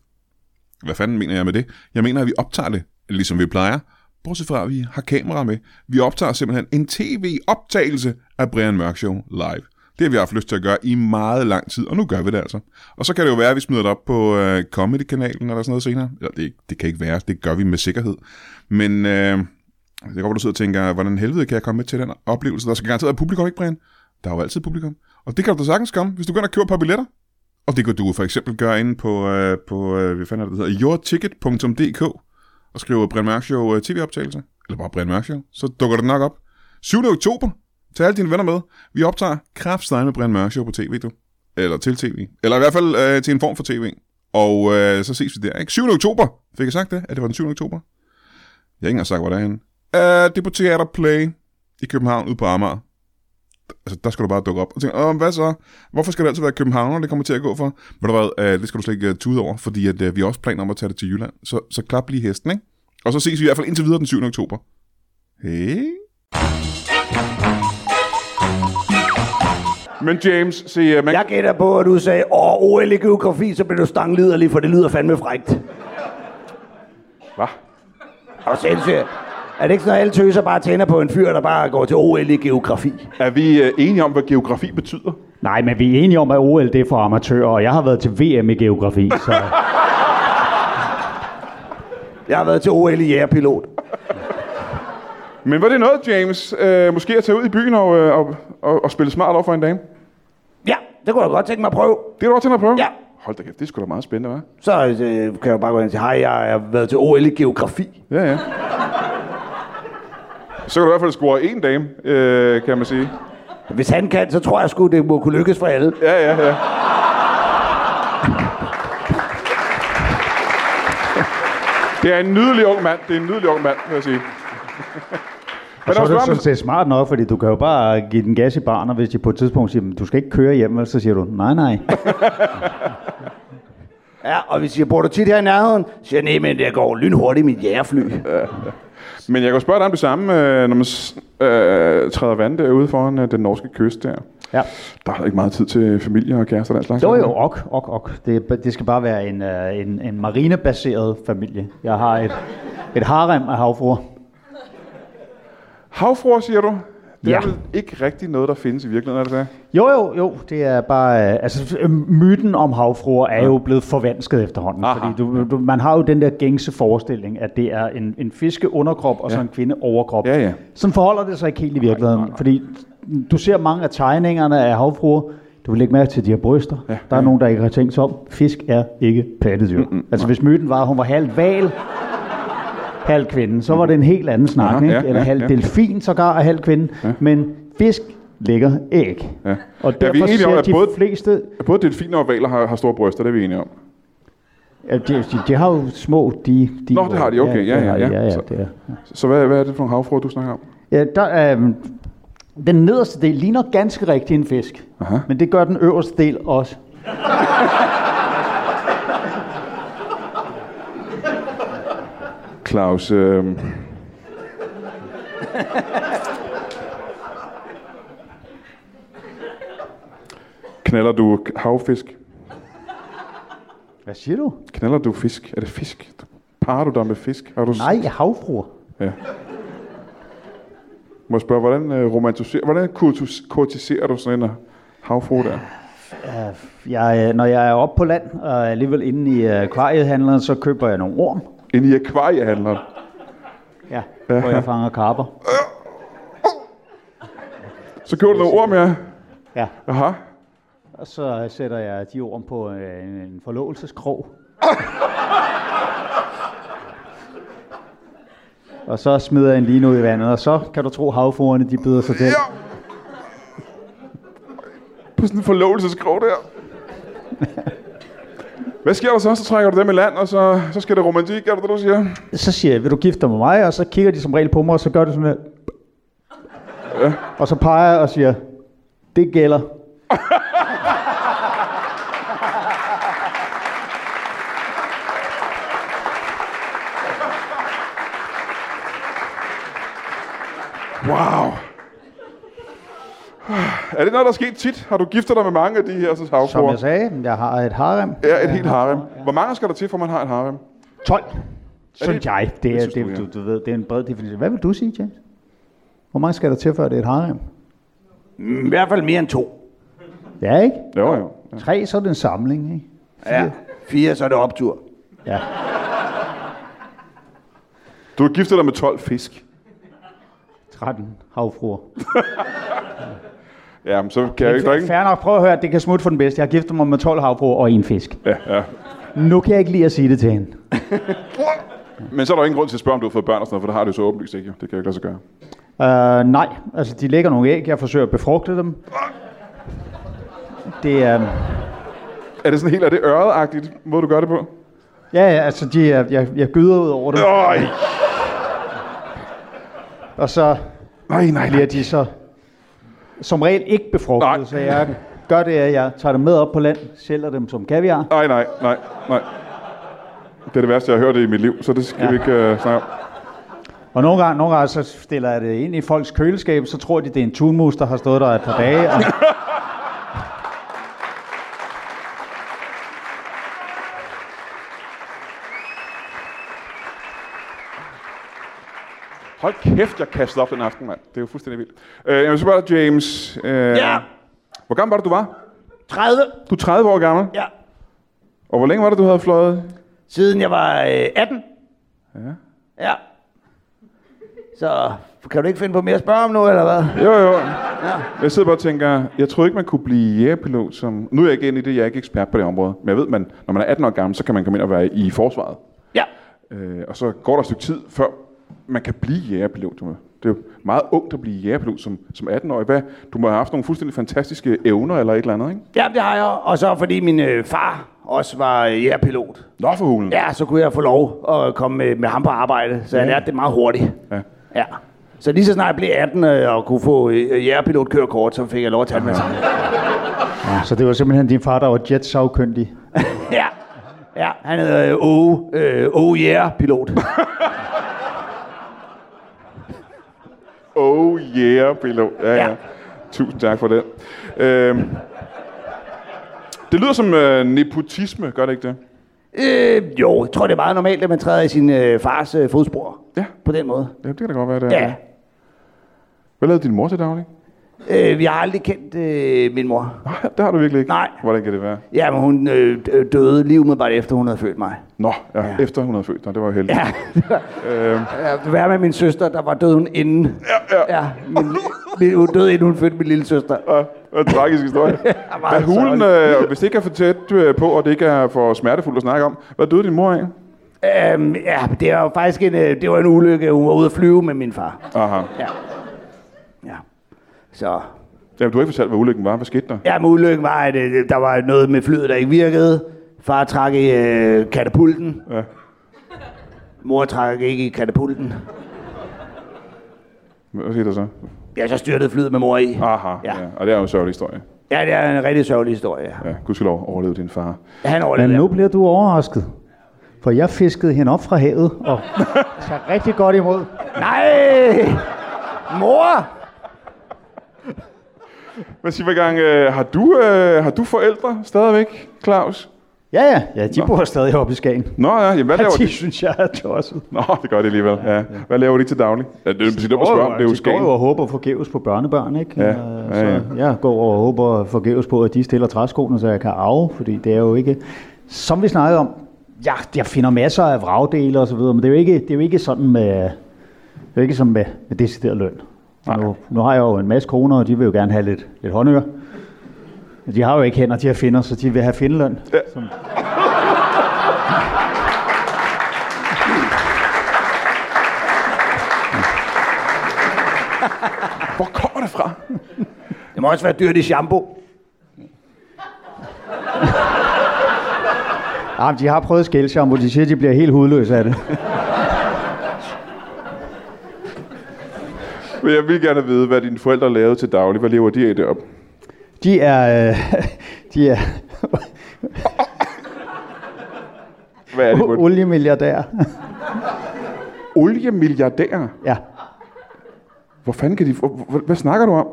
Speaker 1: Hvad fanden mener jeg med det? Jeg mener, at vi optager det, ligesom vi plejer. Bortset fra, at vi har kamera med. Vi optager simpelthen en tv-optagelse af Brian Mørk Show live. Det har vi haft lyst til at gøre i meget lang tid, og nu gør vi det altså. Og så kan det jo være, at vi smider det op på øh, Comedy-kanalen eller sådan noget senere. Eller det, det kan ikke være, det gør vi med sikkerhed. Men øh, det kan godt, være, du sidder og tænker, hvordan helvede kan jeg komme med til den oplevelse? Der skal garanteret være publikum, ikke Brian? Der er jo altid publikum. Og det kan du da sagtens komme, hvis du går ind og køber et par billetter. Og det kan du for eksempel gøre inde på, øh, på øh, hvad fanden er det, det hedder, yourticket.dk og skrive Brian Mørk Show øh, tv-optagelse, eller bare Brian Mørk Show, så dukker det nok op. 7. oktober, tag alle dine venner med. Vi optager kraftstein med Brian Mørk Show på tv, du. Eller til tv. Eller i hvert fald øh, til en form for tv. Og øh, så ses vi der, ikke? 7. oktober, fik jeg sagt det? At det var den 7. oktober? Jeg har ikke engang sagt, hvor det er henne. Øh, det er på Theater Play i København, ude på Amager. Altså, der skal du bare dukke op og tænke, Åh, hvad så? Hvorfor skal det altid være København, det kommer til at gå for? Ved du hvad, øh, det skal du slet ikke øh, tude over, fordi at, øh, vi har også planer om at tage det til Jylland. Så, så klap lige hesten, ikke? Og så ses vi i hvert fald indtil videre den 7. oktober. Hey. Men James, se, man,
Speaker 2: Jeg gætter på, at du sagde, åh, OL i geografi, så blev du stangliderlig, for det lyder fandme frægt.
Speaker 1: Hvad?
Speaker 2: Er du sindssyg? Er det ikke sådan, at alle tøser bare tænder på en fyr, der bare går til OL i geografi?
Speaker 1: er vi øh, enige om, hvad geografi betyder?
Speaker 3: Nej, men vi er enige om, at OL det er for amatører, og jeg har været til VM i geografi, så...
Speaker 2: Jeg har været til OL i jægerpilot.
Speaker 1: Men var det noget, James? Øh, måske at tage ud i byen og, øh, og, og, og spille smart over for en dame?
Speaker 2: Ja, det kunne jeg godt tænke mig at prøve.
Speaker 1: Det er du også tænkt at prøve?
Speaker 2: Ja.
Speaker 1: Hold da kæft, det skulle sgu da meget spændende, hva'?
Speaker 2: Så øh, kan jeg jo bare gå ind og sige, hej, jeg har været til OL i geografi.
Speaker 1: Ja, ja. Så kan du i hvert fald score en dame, øh, kan man sige.
Speaker 2: Hvis han kan, så tror jeg sgu, det må kunne lykkes for alle.
Speaker 1: Ja, ja, ja. Det er en nydelig ung mand. Det er en nydelig ung mand, vil jeg sige.
Speaker 3: Og
Speaker 1: Men der
Speaker 3: så er
Speaker 1: var
Speaker 3: det
Speaker 1: spørgsmål-
Speaker 3: sådan set smart nok, fordi du kan jo bare give den gas i barn, og hvis de på et tidspunkt siger, "Men du skal ikke køre hjem, vel?" så siger du, nej, nej.
Speaker 2: Ja, og vi siger, bor du tit her i nærheden? Siger, nej, men det går lynhurtigt i mit jægerfly.
Speaker 1: Men jeg kan jo spørge dig om det samme, øh, når man s- øh, træder vand derude foran øh, den norske kyst der.
Speaker 3: Ja.
Speaker 1: Der er der ikke meget tid til familie og kærester og den slags.
Speaker 3: Jo
Speaker 1: er
Speaker 3: jo,
Speaker 1: der?
Speaker 3: ok, ok, ok. Det, det skal bare være en, øh, en, en marinebaseret familie. Jeg har et, et harem af havfruer.
Speaker 1: Havfruer, siger du? Det
Speaker 3: Ja.
Speaker 1: er vel ikke rigtig noget, der findes i virkeligheden, er det det?
Speaker 3: Jo jo, jo, det er bare... Øh, altså, øh, myten om havfruer er jo blevet forvansket efterhånden.
Speaker 1: Aha.
Speaker 3: Fordi du, du, man har jo den der gængse forestilling, at det er en, en fiskeunderkrop og så
Speaker 1: Ja.
Speaker 3: en kvindeoverkrop.
Speaker 1: Ja, ja.
Speaker 3: Sådan forholder det sig ikke helt i virkeligheden, fordi du ser mange af tegningerne af havfruer, du vil lægge mærke til de her bryster. Ja, der er nogen, der ikke har tænkt sig om. Fisk er ikke pattedyr. Mm-hmm. Altså hvis myten var, at hun var halvt val, halv kvinde, så var det en helt anden snak.
Speaker 1: Aha,
Speaker 3: ikke?
Speaker 1: ja,
Speaker 3: Eller
Speaker 1: ja,
Speaker 3: halv
Speaker 1: ja.
Speaker 3: delfin sågar er halv kvinde. Ja. Men fisk lægger æg.
Speaker 1: Ja.
Speaker 3: Og
Speaker 1: Ja, vi er
Speaker 3: derfor
Speaker 1: enige om,
Speaker 3: ser
Speaker 1: at
Speaker 3: de
Speaker 1: både-
Speaker 3: fleste...
Speaker 1: Både delfiner og valer har, har store bryster, det er vi enige om.
Speaker 3: Ja, de, de, de har jo små... De, de
Speaker 1: Nå, det har de, okay, ja,
Speaker 3: det
Speaker 1: ja,
Speaker 3: har de,
Speaker 1: ja.
Speaker 3: ja, ja,
Speaker 1: Så-
Speaker 3: det er.
Speaker 1: Så hvad, hvad er det for nogle havfruer, du snakker om?
Speaker 3: Ja, der, øh, den nederste del ligner ganske rigtig en fisk.
Speaker 1: Aha.
Speaker 3: Men det gør den øverste del også.
Speaker 1: Claus, øh... Knaller du havfisk?
Speaker 3: Hvad siger du?
Speaker 1: Knaller du fisk? Er det fisk? Parer du dig med fisk? Har du s-
Speaker 3: Nej, havfruer.
Speaker 1: Ja. Må jeg spørge, hvordan øh, romantiserer, hvordan kurtus- kurtiserer du sådan en havfru der?
Speaker 3: Øh, Jeg, øh, når jeg er oppe på land og er alligevel inde i øh, akvariehandleren, så køber jeg nogle orm,
Speaker 1: Inde i akvariehandleren.
Speaker 3: ja, hvor jeg fanger karper.
Speaker 1: Så køber du nogle ord med
Speaker 3: Ja.
Speaker 1: Aha.
Speaker 3: Og så øh, sætter jeg de orm på øh, en, en forlovelseskrog. og så smider jeg en line ud i vandet, og så kan du tro, havfruerne de byder sig til.
Speaker 1: Ja. På sådan en forlovelseskrog der. Hvad sker der så? Så trækker du dem i land, og så, så skal det romantik, er det det, du siger?
Speaker 3: så siger jeg, vil du gifte dig med mig? Og så kigger de som regel på mig, og så gør det sådan her. Og så peger jeg og siger, det gælder.
Speaker 1: Wow. Er det noget, der er sket tit? Har du giftet dig med mange af de her så
Speaker 3: Som
Speaker 1: havfruer?
Speaker 3: jeg sagde, jeg har et harem.
Speaker 1: Ja, et helt harem. Hvor mange skal der til, for man har et harem?
Speaker 3: 12. Synes
Speaker 1: det-
Speaker 3: jeg. Det er,
Speaker 1: det synes
Speaker 3: det,
Speaker 1: du, ja.
Speaker 3: det, du, du ved, det er en bred definition. Hvad vil du sige, James? Hvor mange skal der til, før det er et harem?
Speaker 2: Mm, I hvert fald mere end to.
Speaker 3: Ja, ikke?
Speaker 1: Jo, jo.
Speaker 3: Tre, så er det en samling, ikke?
Speaker 2: Ja. Fire, så er det optur.
Speaker 3: Ja.
Speaker 1: Du har giftet dig med 12 fisk.
Speaker 3: 13 havfruer.
Speaker 1: Ja, men så kan jeg ikke drikke.
Speaker 3: Færre nok, prøv at høre, det kan smutte for den bedste. Jeg har giftet mig med 12 havfruer og en fisk.
Speaker 1: Ja, ja.
Speaker 3: Nu kan jeg ikke lige at sige det til hende.
Speaker 1: Men så er der jo ingen grund til at spørge, om du har fået børn og sådan noget, for det har du jo så åbenlyst ikke. jo. Det kan jeg jo ikke lade sig gøre.
Speaker 3: Øh, nej, altså de lægger nogle æg, jeg forsøger at befrugte dem. Det er...
Speaker 1: Er det sådan helt, er det øret-agtigt, måde du gør det på?
Speaker 3: Ja, ja, altså de er, jeg, jeg gyder ud over det,
Speaker 1: Øj!
Speaker 3: og så
Speaker 1: Nej, nej,
Speaker 3: bliver
Speaker 1: nej.
Speaker 3: de så som regel ikke
Speaker 1: Nej.
Speaker 3: befrugtet, så jeg gør det, at jeg tager dem med op på land, sælger dem som kaviar.
Speaker 1: Nej, nej, nej, nej. Det er det værste, jeg har hørt i mit liv, så det skal ja.
Speaker 3: Ja.
Speaker 1: vi ikke uh, snakke om.
Speaker 3: Og nogle gange, nogle gange så stiller jeg det ind i folks køleskab, så tror de, det er en tunmus, der har stået der et par dage. Og...
Speaker 1: Hold kæft, jeg kastede op den aften, mand. Det er jo fuldstændig vildt. Uh, jeg vil spørge dig, James. Uh,
Speaker 2: Ja.
Speaker 1: Hvor gammel var det, du var?
Speaker 2: 30.
Speaker 1: Du er 30 år gammel.
Speaker 2: Ja.
Speaker 1: Og hvor længe var det, du havde fløjet?
Speaker 2: Siden jeg var øh, 18. Ja. Ja. Så kan du ikke finde på mere at spørge om nu, eller hvad?
Speaker 1: Jo, jo. Jeg sidder bare og tænker, jeg troede ikke, man kunne blive jægerpilot som... Nu er jeg ikke inde i det, jeg er ikke ekspert på det område. Men jeg ved, man, når man er 18 år gammel, så kan man komme ind og være i forsvaret.
Speaker 2: Ja.
Speaker 1: Øh, og så går der et stykke tid, før man kan blive jægerpilot. Du med. Det er jo meget ungt at blive jægerpilot som, som 18-årig. Hvad? Du må have haft nogle fuldstændig fantastiske evner eller et eller andet, ikke?
Speaker 2: Ja, det har jeg. Og så fordi min øh, far også var øh, jægerpilot.
Speaker 1: Nå for hulen.
Speaker 2: Ja, så kunne jeg få lov at komme med, med ham på arbejde. Så jeg lærte det meget hurtigt.
Speaker 1: ja.
Speaker 2: Ja. Så lige så snart jeg blev 18 øh, og kunne få øh, jægerpilotkørekort, så fik jeg lov at tage det med sig.
Speaker 3: Ja, så det var simpelthen din far, der var jetsavkyndig.
Speaker 2: Ja. Ja, han hedder øh, Åge øh, Åge Jægerpilot.
Speaker 1: Oh yeah, pilot. Ja, ja.
Speaker 2: Ja.
Speaker 1: Tusind tak for den. Øhm, det lyder som øh, nepotisme, gør det ikke det?
Speaker 2: øh, jo, jeg tror, det er meget normalt, at man træder i sin øh, fars øh, fodspor.
Speaker 1: Ja.
Speaker 2: På den måde.
Speaker 1: ja, det kan da godt være, det er.
Speaker 2: Ja.
Speaker 1: Hvad lavede din mor til daglig?
Speaker 2: Øh, vi har aldrig kendt øh, min mor.
Speaker 1: Nej, det har du virkelig ikke.
Speaker 2: Nej.
Speaker 1: Hvordan kan det være?
Speaker 2: Ja, men hun øh, d- døde lige umiddelbart efter, hun havde født mig.
Speaker 1: Nå, ja, ja. efter hun havde født dig, det var jo heldigt.
Speaker 2: Ja, det var,
Speaker 1: Øhm,
Speaker 2: øh, hvad med min søster, der var død hun inden. Ja, ja. ja min, min, hun døde, inden hun fødte min lille søster.
Speaker 1: og, og en tragisk historie. Hvad
Speaker 2: meget
Speaker 1: hulen, øh, hvis det ikke er for tæt øh, på, og det ikke er for smertefuldt at snakke om, hvad døde din mor af?
Speaker 2: Øhm, ja, det var jo faktisk en, øh, det var en ulykke. Hun var ude at flyve med min far.
Speaker 1: Aha.
Speaker 2: Ja. Ja. Så.
Speaker 1: Jamen, du har ikke fortalt, hvad ulykken var. Hvad skete der?
Speaker 2: Ja, men ulykken var, at øh, der var noget med flyet, der ikke virkede. Far trak i øh, katapulten.
Speaker 1: Ja.
Speaker 2: Mor trak ikke i katapulten.
Speaker 1: Hvad skete der så?
Speaker 2: Ja, så styrtede flyet med mor i.
Speaker 1: Aha, ja.
Speaker 2: Ja.
Speaker 1: ja. Og det er jo en sørgelig historie.
Speaker 2: Ja, det er en rigtig sørgelig historie.
Speaker 1: Ja, gudskelov overlevede din far.
Speaker 2: Han
Speaker 3: Men
Speaker 2: overlevede.
Speaker 3: nu bliver du overrasket. For jeg fiskede hende op fra havet og tager rigtig godt imod.
Speaker 2: Nej! Mor!
Speaker 1: Hvad siger gang, øh, har, du, øh, har du forældre stadigvæk, Claus?
Speaker 3: Ja, ja. Ja, de
Speaker 1: Nå.
Speaker 3: bor stadig oppe i Skagen.
Speaker 1: Nå ja, jamen, hvad
Speaker 3: Ja,
Speaker 1: laver
Speaker 3: de
Speaker 1: de?
Speaker 3: synes, jeg er tosset.
Speaker 1: Nå, det gør det alligevel. Ja. Hvad laver de til daglig? Ja, det er jo præcis, det, man spørger om. Det er jo
Speaker 3: de går jo
Speaker 1: skægt.
Speaker 3: og håber forgæves på børnebørn, ikke?
Speaker 1: Ja,
Speaker 3: Øh,
Speaker 1: ja, ja.
Speaker 3: Så jeg går og håber forgæves på, at de stiller træskoene, så jeg kan arve, fordi det er jo ikke... Som vi snakkede om, ja, jeg finder masser af vragdele og så videre, men det er jo ikke, det er jo ikke sådan med... Det er jo ikke som med, med decideret løn. Og Nu, nu, har jeg jo en masse kroner, og de vil jo gerne have lidt, lidt håndører. Men De har jo ikke hænder, de har finder, så de vil have findeløn.
Speaker 1: Hvor kommer det fra?
Speaker 2: Det må også være dyrt i shampoo.
Speaker 3: Ja, Ah, men de har prøvet skældshampoo, de siger, at de bliver helt hudløse af det.
Speaker 1: Men jeg vil gerne vide, hvad dine forældre lavede til daglig. Hvad lever de af deroppe?
Speaker 3: De er... Øh, de er
Speaker 1: Hvad er det på?
Speaker 3: oliemilliardærer.
Speaker 1: Oliemilliardærer?
Speaker 3: ja.
Speaker 1: Hvor fanden kan de... hvor- hvor- Hvad snakker du om?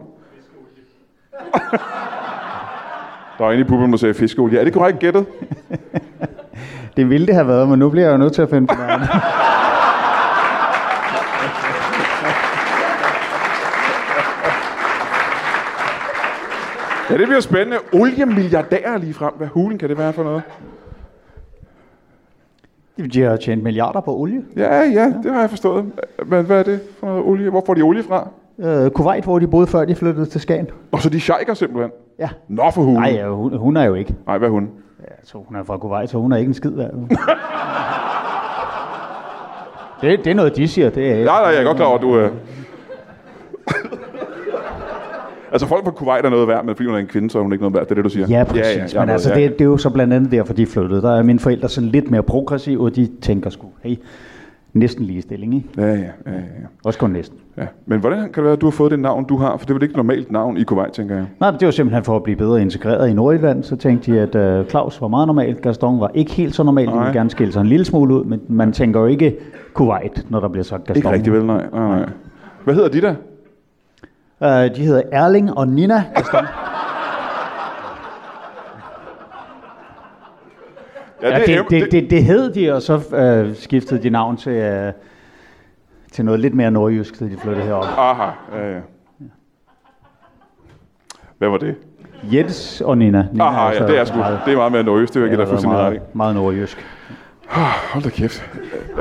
Speaker 1: Der er en i publikum, der sagde fiskeolie. Er det korrekt gættet?
Speaker 3: Det ville det have været, men nu bliver jeg jo nødt til at finde på noget andet.
Speaker 1: Ja, det bliver spændende. Oliemilliardærer lige frem. Hvad hulen kan det være for noget?
Speaker 3: De har tjent milliarder på olie.
Speaker 1: Ja, ja, det har jeg forstået. Men hvad er det for noget olie? Hvor får de olie fra?
Speaker 3: Øh, Kuwait, hvor de boede før de flyttede til Skagen.
Speaker 1: Og så de shejker simpelthen.
Speaker 3: Ja.
Speaker 1: Nå for hulen.
Speaker 3: Nej, ja, hun, hun, er jo ikke.
Speaker 1: Nej, hvad er hun?
Speaker 3: Ja, så hun er fra Kuwait, så hun er ikke en skid værd. det, det er noget, de siger. Det er,
Speaker 1: Nej, nej, jeg er godt klar over, at du... Øh... altså, folk på Kuwait er noget værd, men fordi hun er en kvinde, så er hun ikke noget værd. Det er det, du siger.
Speaker 3: Ja, præcis.
Speaker 1: jeg
Speaker 3: Ja, ja, men
Speaker 1: ved,
Speaker 3: altså,
Speaker 1: ja.
Speaker 3: det, det er jo så blandt andet derfor, de flyttede. Der er mine forældre sådan lidt mere progressive, og de tænker sgu, hey, næsten ligestilling, ikke?
Speaker 1: Ja, ja, ja, ja, ja.
Speaker 3: Også kun næsten.
Speaker 1: ja. Men hvordan kan det være, at du har fået det navn, du har? For det er vel ikke et normalt navn i Kuwait, tænker jeg.
Speaker 3: Nej, men det var simpelthen for at blive bedre integreret i Nordjylland. Så tænkte de, at øh, Claus var meget normal, Gaston var ikke helt så normal. De
Speaker 1: Nej.
Speaker 3: ville gerne skille sig en lille smule ud, men man tænker jo ikke Kuwait, når der bliver sagt Gaston.
Speaker 1: Ikke rigtig vel, nej. nej, nej. Hvad hedder de der?
Speaker 3: Øh, de hedder Erling og Nina
Speaker 1: Altså,
Speaker 3: Gaston. ja, det, det, det, det hed de, og så øh, skiftede de navn til, øh, til noget lidt mere nordjysk, da de flyttede herop.
Speaker 1: Aha, ja, ja. Hvad var det?
Speaker 3: Jens og Nina. Nina
Speaker 1: Aha, ja,
Speaker 3: så
Speaker 1: det er sgu.
Speaker 3: meget-
Speaker 1: Det er meget mere nøjes, det vil jeg
Speaker 3: det
Speaker 1: da
Speaker 3: har været
Speaker 1: fuldstændig ret i.
Speaker 3: meget, meget nordjysk.
Speaker 1: Hold da kæft.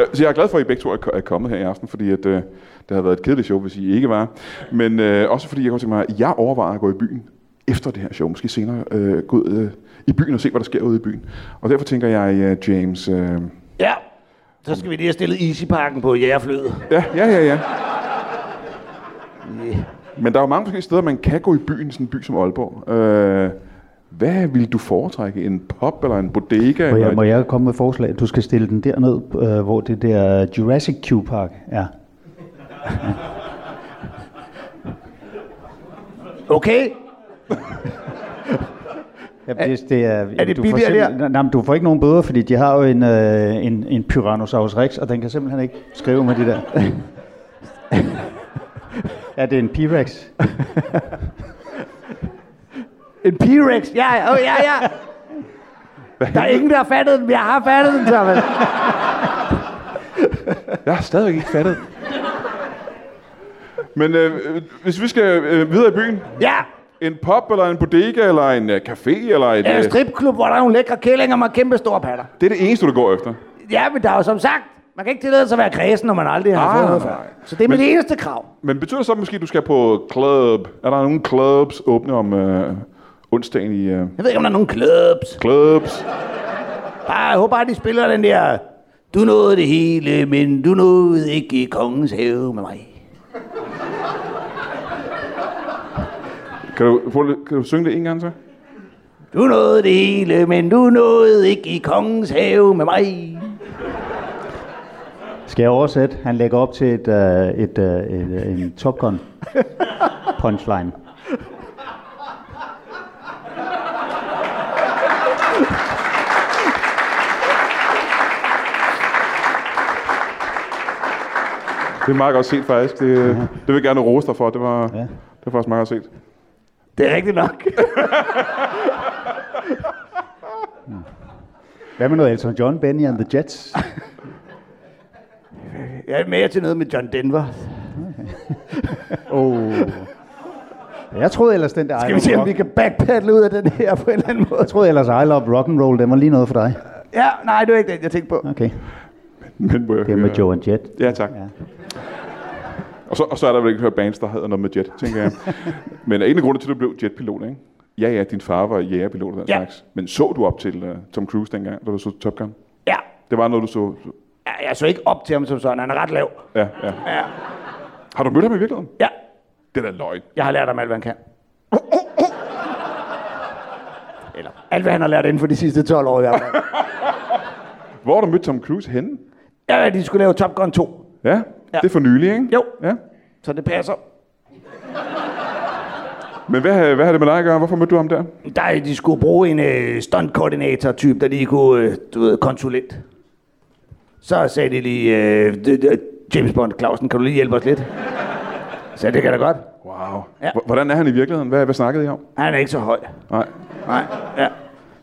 Speaker 1: Øh, Så jeg er glad for, at I begge to er er kommet her i aften, fordi at, øh, det har været et kedeligt show, hvis I ikke var. Men øh, også fordi jeg kunne tænke mig, at jeg overvejer at gå i byen efter det her show, måske senere øh, gå ud øh, i byen og se, hvad der sker ude i byen. Og derfor tænker jeg, øh, James... Øh,
Speaker 2: Ja. Så skal vi lige have stillet Easy Parken på jægerflyet.
Speaker 1: ja, ja, ja, ja. Men der er jo mange forskellige steder, man kan gå i byen, sådan en by som Aalborg. Øh, hvad vil du foretrække? En pop eller en bodega?
Speaker 3: Må
Speaker 1: eller
Speaker 3: jeg,
Speaker 1: et-
Speaker 3: må jeg komme med et forslag? Du skal stille den derned, øh, hvor det der Jurassic Cube Park er.
Speaker 2: Okay?
Speaker 3: Ja, det, det er, er
Speaker 2: det billigere
Speaker 3: der? Nej, men du får ikke nogen bøder, fordi de har jo en, øh, en, en Tyrannosaurus Rex, og den kan simpelthen ikke skrive med det der. ja, det er en P-Rex.
Speaker 2: En P-Rex? Ja, ja, oh, ja, ja. Der er ingen, der har fattet den, men jeg har fattet den, Thomas.
Speaker 1: Jeg har stadigvæk ikke fattet. Men øh, øh, hvis vi skal øh, videre i byen,
Speaker 2: Ja,
Speaker 1: en pop eller en bodega eller en øh, café eller en...
Speaker 2: en
Speaker 1: Øh,
Speaker 2: stripklub, hvor der er nogle lækre kællinger med kæmpe store patter.
Speaker 1: det er det eneste, du går efter.
Speaker 2: Ja, men der er jo som sagt, man kan ikke tillade sig at være kredsen, når man aldrig har
Speaker 1: Ah,
Speaker 2: fået noget
Speaker 1: nej.
Speaker 2: før. Så det er mit
Speaker 1: Men-
Speaker 2: eneste krav.
Speaker 1: Men betyder det så måske, at du skal på club? Er der nogle clubs åbne om øh, onsdagen i... Øh,
Speaker 2: Jeg ved ikke, om der er nogen clubs.
Speaker 1: clubs?
Speaker 2: Bare, jeg håber bare, de spiller den der... Du nåede det hele, men du nåede ikke i kongens have med mig.
Speaker 1: Kan du, prøve lidt- kan du synge det en gang så?
Speaker 2: Du nåede det hele, men du nåede ikke i kongens have med mig.
Speaker 3: Skal jeg oversætte? Han lægger op til et, øh, et, øh, et, øh, en Top Gun punchline.
Speaker 1: Det er meget godt set faktisk. Det, øh, det vil jeg gerne rose dig for. Det var,
Speaker 3: Ja.
Speaker 1: det var faktisk meget godt set.
Speaker 2: Det er rigtigt nok.
Speaker 3: Hvad med noget Elton John, Benny and the Jets?
Speaker 2: Jeg er mere til noget med John Denver.
Speaker 3: Oh. Jeg troede ellers, den der I
Speaker 2: Skal vi se,
Speaker 3: Love
Speaker 2: om vi kan backpedale ud af den her på en eller anden måde?
Speaker 3: Jeg troede ellers, I Love Rock'n'Roll, den var lige noget for dig.
Speaker 2: Ja, nej, det var ikke den, jeg tænkte på.
Speaker 3: Okay,
Speaker 1: Men må jeg
Speaker 3: det er
Speaker 1: høre-
Speaker 3: med Joe and Jet.
Speaker 1: Ja, tak. Ja.
Speaker 3: Ja.
Speaker 1: Og, så, og så er der vel ikke hørt bands, der havde noget med jet, tænker jeg. Men en af grundene til, at du blev jetpilot, ikke? Ja, ja, din far var jægerpilot og den
Speaker 2: Ja.
Speaker 1: slags. Men så du op til uh, Tom Cruise dengang, da du så Top Gun?
Speaker 2: Ja.
Speaker 1: Det var noget, du så... så-
Speaker 2: ja. Jeg så ikke op til ham som sådan. Han er ret lav.
Speaker 1: Ja, ja.
Speaker 2: Ja.
Speaker 1: Har du mødt ham i virkeligheden?
Speaker 2: ja.
Speaker 1: Det er da løgn.
Speaker 2: Jeg har lært ham alt, hvad han kan. Eller alt, hvad han har lært inden for de sidste 12 år i hvert fald.
Speaker 1: Hvor har du mødt Tom Cruise henne?
Speaker 2: Ja, de skulle lave Top Gun 2.
Speaker 1: Ja, ja. det er for nylig, ikke?
Speaker 2: Jo.
Speaker 1: Ja.
Speaker 2: Så det passer.
Speaker 1: Men hvad, hvad har det med dig at gøre? Hvorfor mødte du ham der?
Speaker 2: Der, de skulle bruge en øh, stuntkoordinator-type, der lige kunne, øh, du ved, konsulent. Så sagde de lige, øh, d- d- James Bond, Clausen, kan du lige hjælpe os lidt? Så sagde, jeg, det kan da godt.
Speaker 1: Wow.
Speaker 2: Ja.
Speaker 1: H- hvordan er han i virkeligheden? Hvad, hvad snakkede I om?
Speaker 2: Han er ikke så høj.
Speaker 1: Nej.
Speaker 2: Nej, ja.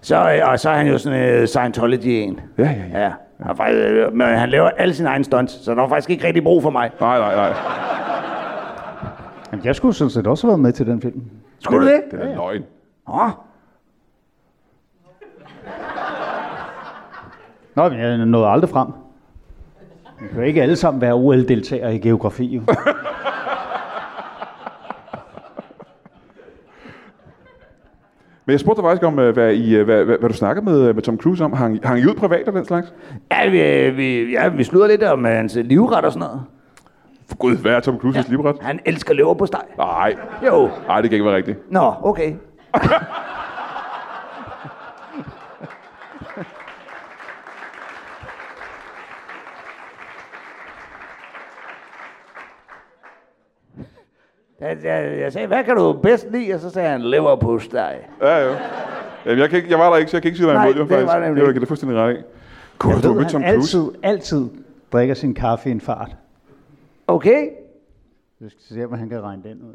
Speaker 2: Så, øh, og så er han jo sådan en øh, Scientology-en.
Speaker 1: Ja, ja, ja.
Speaker 2: Ja, han, er faktisk, øh, men han laver alle sine egne stunts, så der var faktisk ikke rigtig brug for mig.
Speaker 1: Nej, nej, nej.
Speaker 3: Jamen, jeg skulle sådan set også have været med til den film.
Speaker 2: Skulle du det?
Speaker 1: Det er da løgn.
Speaker 2: Nå,
Speaker 3: Nå, men jeg nåede aldrig frem. Vi kan jo ikke alle sammen være OL-deltagere i geografi, jo.
Speaker 1: Men jeg spurgte dig faktisk om, øh, hvad, I, øh, hvad, hvad, hvad du snakkede med, øh, med Tom Cruise om. Hang, hang I ud privat og den slags?
Speaker 2: ja, vi, øh, vi, ja, vi slutter lidt om øh, hans øh, livret og sådan noget.
Speaker 1: For gud, hvad er Tom Cruises ja. livret?
Speaker 2: Han elsker løver på steg.
Speaker 1: Nej,
Speaker 2: Jo.
Speaker 1: nej, det kan ikke være rigtigt.
Speaker 2: Nå, okay. jeg, jeg, jeg sagde, hvad kan du bedst lide? Og så sagde han, leverpostej.
Speaker 1: Ja, jo. Jamen, jeg, kan ikke, jeg var der ikke, så jeg kan ikke sige dig
Speaker 2: Nej,
Speaker 1: imod. jo,
Speaker 2: det var
Speaker 1: faktisk.
Speaker 2: der nemlig
Speaker 1: Det var
Speaker 2: ikke.
Speaker 1: det fuldstændig ret i. Gud, du har mødt Tom
Speaker 3: han
Speaker 1: Cruise.
Speaker 3: altid, altid drikker sin kaffe i en fart.
Speaker 2: Okay.
Speaker 3: Du skal se, om han kan regne den ud.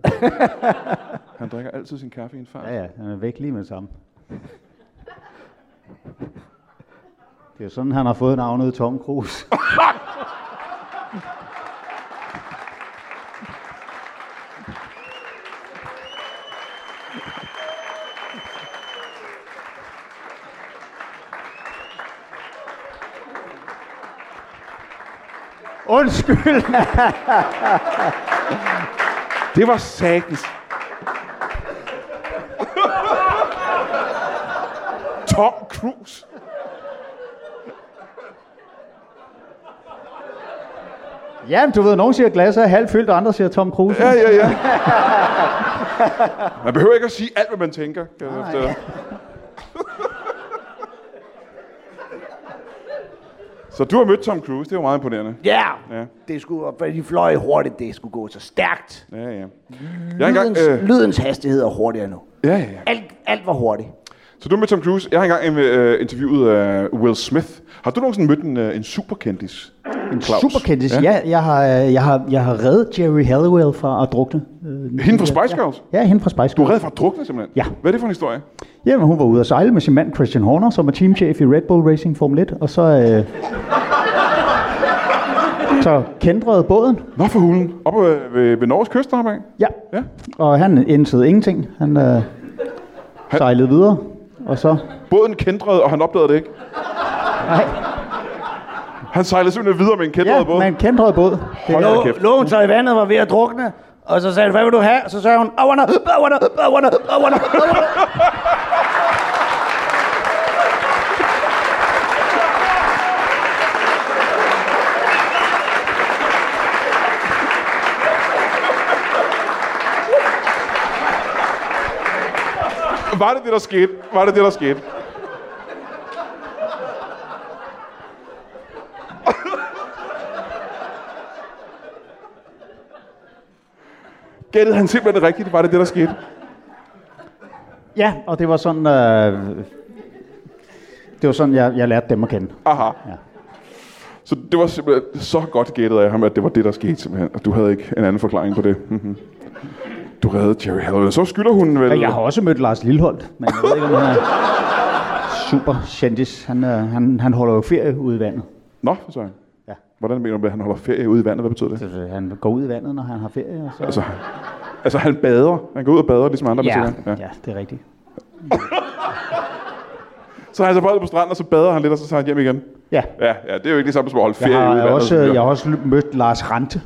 Speaker 1: Han drikker altid sin kaffe i en fart.
Speaker 3: Ja, ja, han er væk lige med det samme. Det er jo sådan, han har fået navnet Tom Cruise. Undskyld!
Speaker 1: Det var satans. Tom Cruise.
Speaker 3: Jamen, du ved, nogen siger, at glasset er halvt fyldt, og andre siger Tom Cruise.
Speaker 1: Ja, ja, ja. Man behøver ikke at sige alt, hvad man tænker. Kan jeg fortælle. Så du har mødt Tom Cruise, det er jo meget imponerende.
Speaker 2: Ja.
Speaker 1: Ja.
Speaker 2: ja. Det skulle, for de fløj hurtigt, det skulle gå så stærkt.
Speaker 1: Ja, ja. Jeg har engang,
Speaker 2: Lydens, øh.
Speaker 1: øh,
Speaker 2: lydens hastighed er hurtigere nu.
Speaker 1: ja, ja.
Speaker 2: Alt, alt var hurtigt.
Speaker 1: Så du mødte Tom Cruise. Jeg har engang øh, interviewet øh, Will Smith. Har du nogensinde mødt en, øh, en superkendis? En Claus?
Speaker 3: Superkendis. Ja. ja, jeg har, øh, jeg, har, jeg har reddet Jerry Halliwell fra at drukne. Øh,
Speaker 1: Hende fra Spice Girls?
Speaker 3: Ja, ja hende fra Spice Girls.
Speaker 1: Du er reddet for at drukne, simpelthen?
Speaker 3: Ja.
Speaker 1: Hvad er det for en historie?
Speaker 3: Jamen, hun var ude at sejle med sin mand Christian Horner, som er teamchef i Red Bull Racing Formel 1, og så... Øh, så kendrede båden.
Speaker 1: Nå for hulen. Oppe ved, ved, ved Norges kyst deroppe af.
Speaker 3: Ja.
Speaker 1: Ja.
Speaker 3: Og han indsede ingenting. Han øh, sejlede videre, og så...
Speaker 1: Båden kendrede, og han opdagede det ikke.
Speaker 3: Nej,
Speaker 1: Han sejlede simpelthen videre med en kendrede
Speaker 3: ja,
Speaker 1: båd.
Speaker 3: man kendrede båd.
Speaker 1: Hold da kæft.
Speaker 2: Lå, lå hun så i vandet var ved at drukne, og så sagde hun, hvad vil du have? Og så sagde hun, I wanna, I wanna, I wanna, I wanna, I wanna.
Speaker 1: Var det det, der skete? Var det det, der skete? Gættede han simpelthen rigtigt? Var det det, der skete?
Speaker 3: Ja, og det var sådan... Øh, det var sådan, jeg, jeg lærte dem at kende.
Speaker 1: Aha.
Speaker 3: Ja.
Speaker 1: Så det var simpelthen så godt gættet af ham, at det var det, der skete simpelthen. Og du havde ikke en anden forklaring på det. Mhm. du reddede Jerry Halliwell. Så skylder hun vel...
Speaker 3: Og jeg har også mødt Lars Lilholdt, men jeg ved ikke, om han er super kendis. Han, øh, han, han holder jo ferie ude i vandet.
Speaker 1: Nå, så
Speaker 3: Ja.
Speaker 1: Hvordan mener du, at han holder ferie ude i vandet? Hvad betyder det?
Speaker 3: Altså, han går ud i vandet, når han har ferie. Og så...
Speaker 1: Altså, altså han bader. Han går ud og bader, ligesom andre
Speaker 3: ja,
Speaker 1: mennesker.
Speaker 3: ja, det er rigtigt.
Speaker 1: Så har han så boldet på stranden, og så bader han lidt, og så tager han hjem igen.
Speaker 3: Ja.
Speaker 1: Ja, ja det er jo ikke det samme som at holde ferie
Speaker 3: Jeg
Speaker 1: ude i
Speaker 3: har,
Speaker 1: vandet.
Speaker 3: også,
Speaker 1: og så videre.
Speaker 3: jeg har også lø- mødt Lars Rante.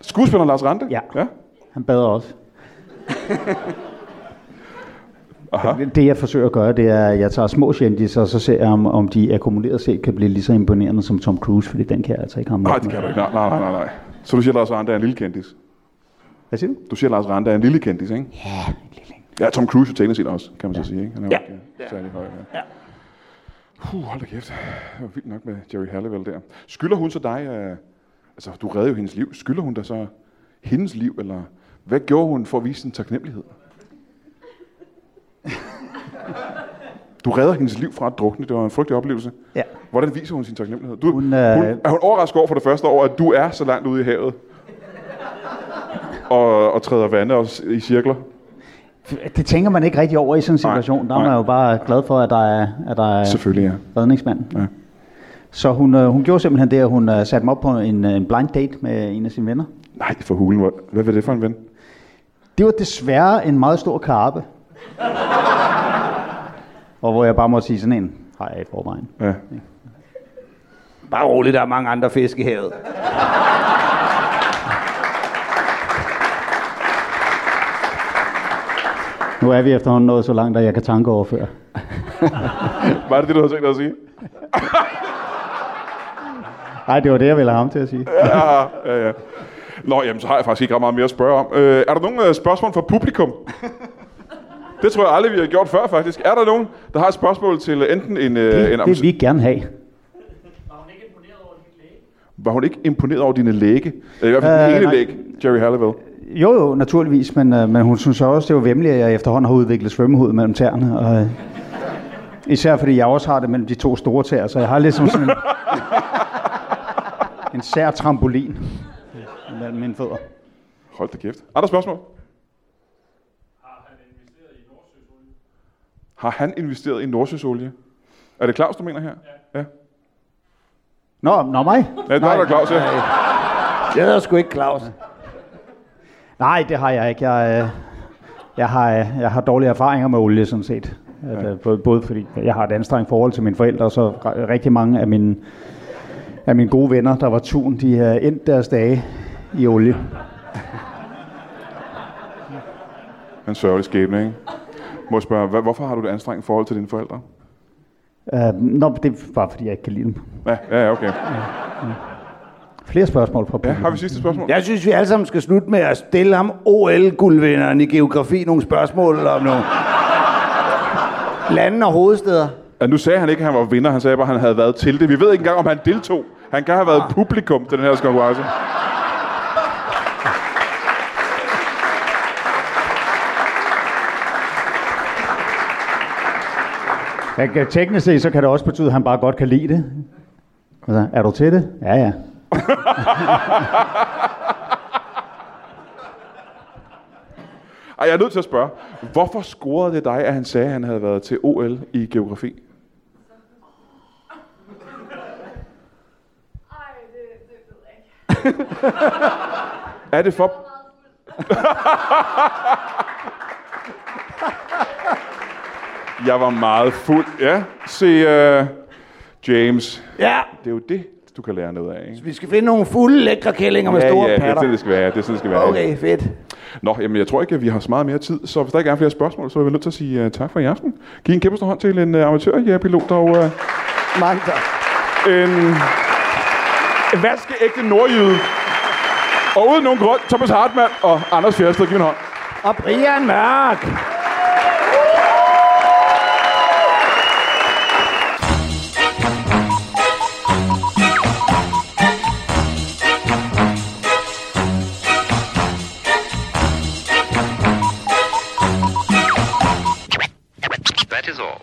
Speaker 1: Skuespiller Lars Rante?
Speaker 3: Ja.
Speaker 1: ja.
Speaker 3: Han bader også.
Speaker 1: Aha.
Speaker 3: Det, jeg forsøger at gøre, det er, at jeg tager små kendisser, og så ser jeg, om, om de akkumuleret set kan blive lige så imponerende som Tom Cruise, fordi den kan jeg altså ikke have med.
Speaker 1: Nej, det kan du ikke. Nej, nej, nej, nej, nej. Så du siger, Lars Rante er en lille kendis.
Speaker 3: Hvad siger du?
Speaker 1: Du siger, Lars Rante er en lille kendis, ikke?
Speaker 3: Ja, en lille en.
Speaker 1: Ja, Tom Cruise jo teknisk set også, kan man så sige. Ikke? Han er jo
Speaker 2: Ja.
Speaker 1: ikke øh, særlig høj. Ja. Puh, hold da kæft. Det var vildt nok med Jerry Halliwell der. Skylder hun så dig, øh, altså du redde jo hendes liv, skylder hun dig så hendes liv, eller hvad gjorde hun for at vise sin taknemmelighed? Du redder hendes liv fra at drukne. Det var en frygtelig oplevelse.
Speaker 3: Ja.
Speaker 1: Hvordan viser hun sin taknemmelighed? Du,
Speaker 3: Hun,
Speaker 1: hun, øh...
Speaker 3: øh,
Speaker 1: hun, er hun overrasket over for det første over, at du er så langt ude i havet? og, og træder vande og s- i cirkler?
Speaker 3: Det tænker man ikke rigtig over i sådan en
Speaker 1: Nej,
Speaker 3: situation. Der er
Speaker 1: nej.
Speaker 3: man jo bare glad for, at der er, at der er
Speaker 1: Selvfølgelig, ja.
Speaker 3: redningsmand.
Speaker 1: Ja.
Speaker 3: Så hun, øh, hun gjorde simpelthen det, at hun øh, satte mig op på en, øh, en blind date med en af sine venner.
Speaker 1: Nej, for hulen. hvor- Hvad var det for en ven?
Speaker 3: Det var desværre en meget stor karpe. og hvor jeg bare måtte sige sådan en, har jeg i forvejen.
Speaker 1: Ja.
Speaker 2: Bare roligt, der er mange andre fisk i havet.
Speaker 3: Nu er vi efterhånden nået så langt, at jeg kan tankeoverføre.
Speaker 1: Var det det, du havde tænkt dig at sige?
Speaker 3: Nej, det var det, jeg ville have ham til at sige.
Speaker 1: Ja, ja, ja. Nå, jamen, så har jeg faktisk ikke ret meget mere at spørge om. Øh, er der nogen øh, spørgsmål fra publikum? Det tror jeg aldrig, vi har gjort før, faktisk. Er der nogen, der har et spørgsmål til øh, enten en... Øh, en
Speaker 3: Det, det vil vi gerne have.
Speaker 1: Var hun ikke imponeret over dine læge? Eller i hvert fald
Speaker 3: Øh,
Speaker 1: øh, den ene
Speaker 3: nej.
Speaker 1: læge, Jerry Halliwell.
Speaker 3: Jo, jo, naturligvis, men, øh, men hun synes også, det var vemmeligt, at jeg efterhånden har udviklet svømmehud mellem tæerne. Og, øh, især fordi jeg også har det mellem de to store tæer, så jeg har lidt som sådan en, en sær trampolin mellem mine fødder.
Speaker 1: Hold da kæft. Andre spørgsmål? Har han investeret i Nordsøsolie? Er det Claus, du mener her? Ja. ja.
Speaker 3: Nå, nå mig?
Speaker 1: ja der er der Claus, ja.
Speaker 2: Jeg hedder sgu ikke Claus.
Speaker 3: Nej, det har jeg ikke. Jeg, øh, jeg, har, øh, jeg har dårlige erfaringer med olie, sådan set. At, øh, både- både fordi jeg har et anstrengt forhold til mine forældre, og så re- rigtig mange af mine, af mine gode venner, der var tun, de har endt deres dage i olie.
Speaker 1: En sørgelig skæbne, ikke? Må jeg spørge, hva- hvorfor har du et anstrengt forhold til dine forældre?
Speaker 3: Øhm, Uh, nå, det er bare fordi, jeg ikke kan lide dem.
Speaker 1: Ja, ja, ja, okay.
Speaker 3: Flere spørgsmål fra
Speaker 1: Ja,
Speaker 3: publikum.
Speaker 1: har vi sidste spørgsmål?
Speaker 2: Jeg synes, vi alle sammen skal slutte med at stille ham OL-guldvinderen i geografi nogle spørgsmål om nogle lande og hovedsteder.
Speaker 1: Ja, nu sagde han ikke, at han var vinder. Han sagde bare, at han havde været til det. Vi ved ikke engang, om han deltog. Han kan have været publikum til den her konkurrence.
Speaker 3: Jeg kan, teknisk set, så kan det også betyde, at han bare godt kan lide det. Altså, er du til det? Ja, ja.
Speaker 1: Ej, jeg er nødt til at spørge. Hvorfor scorede det dig, at han sagde, at han havde været til OL i geografi?
Speaker 4: Ej, det, det ved jeg ikke.
Speaker 1: Er det for... Jeg var meget fuld. Ja, se, uh, James.
Speaker 2: Ja,
Speaker 1: Det er jo det, du kan lære noget af, ikke?
Speaker 2: vi skal finde nogle fulde lækre kællinger med store
Speaker 1: ja, det er
Speaker 2: patter.
Speaker 1: sådan, det skal være. Det er sådan, det skal være.
Speaker 2: Okay, fedt.
Speaker 1: Nå, jamen, jeg tror ikke, at vi har så meget mere tid, så hvis der ikke er flere spørgsmål, så er vi nødt til at sige uh, tak for i aften. Giv en kæmpe stor hånd til en uh, amatørjægerpilot og uh,
Speaker 2: Mange tak.
Speaker 1: en vaskeægte nordjyde. Og uden nogen grund, Thomas Hartmann og Anders Fjersted. Giv en hånd.
Speaker 2: Og Brian Mørk.
Speaker 5: That is all.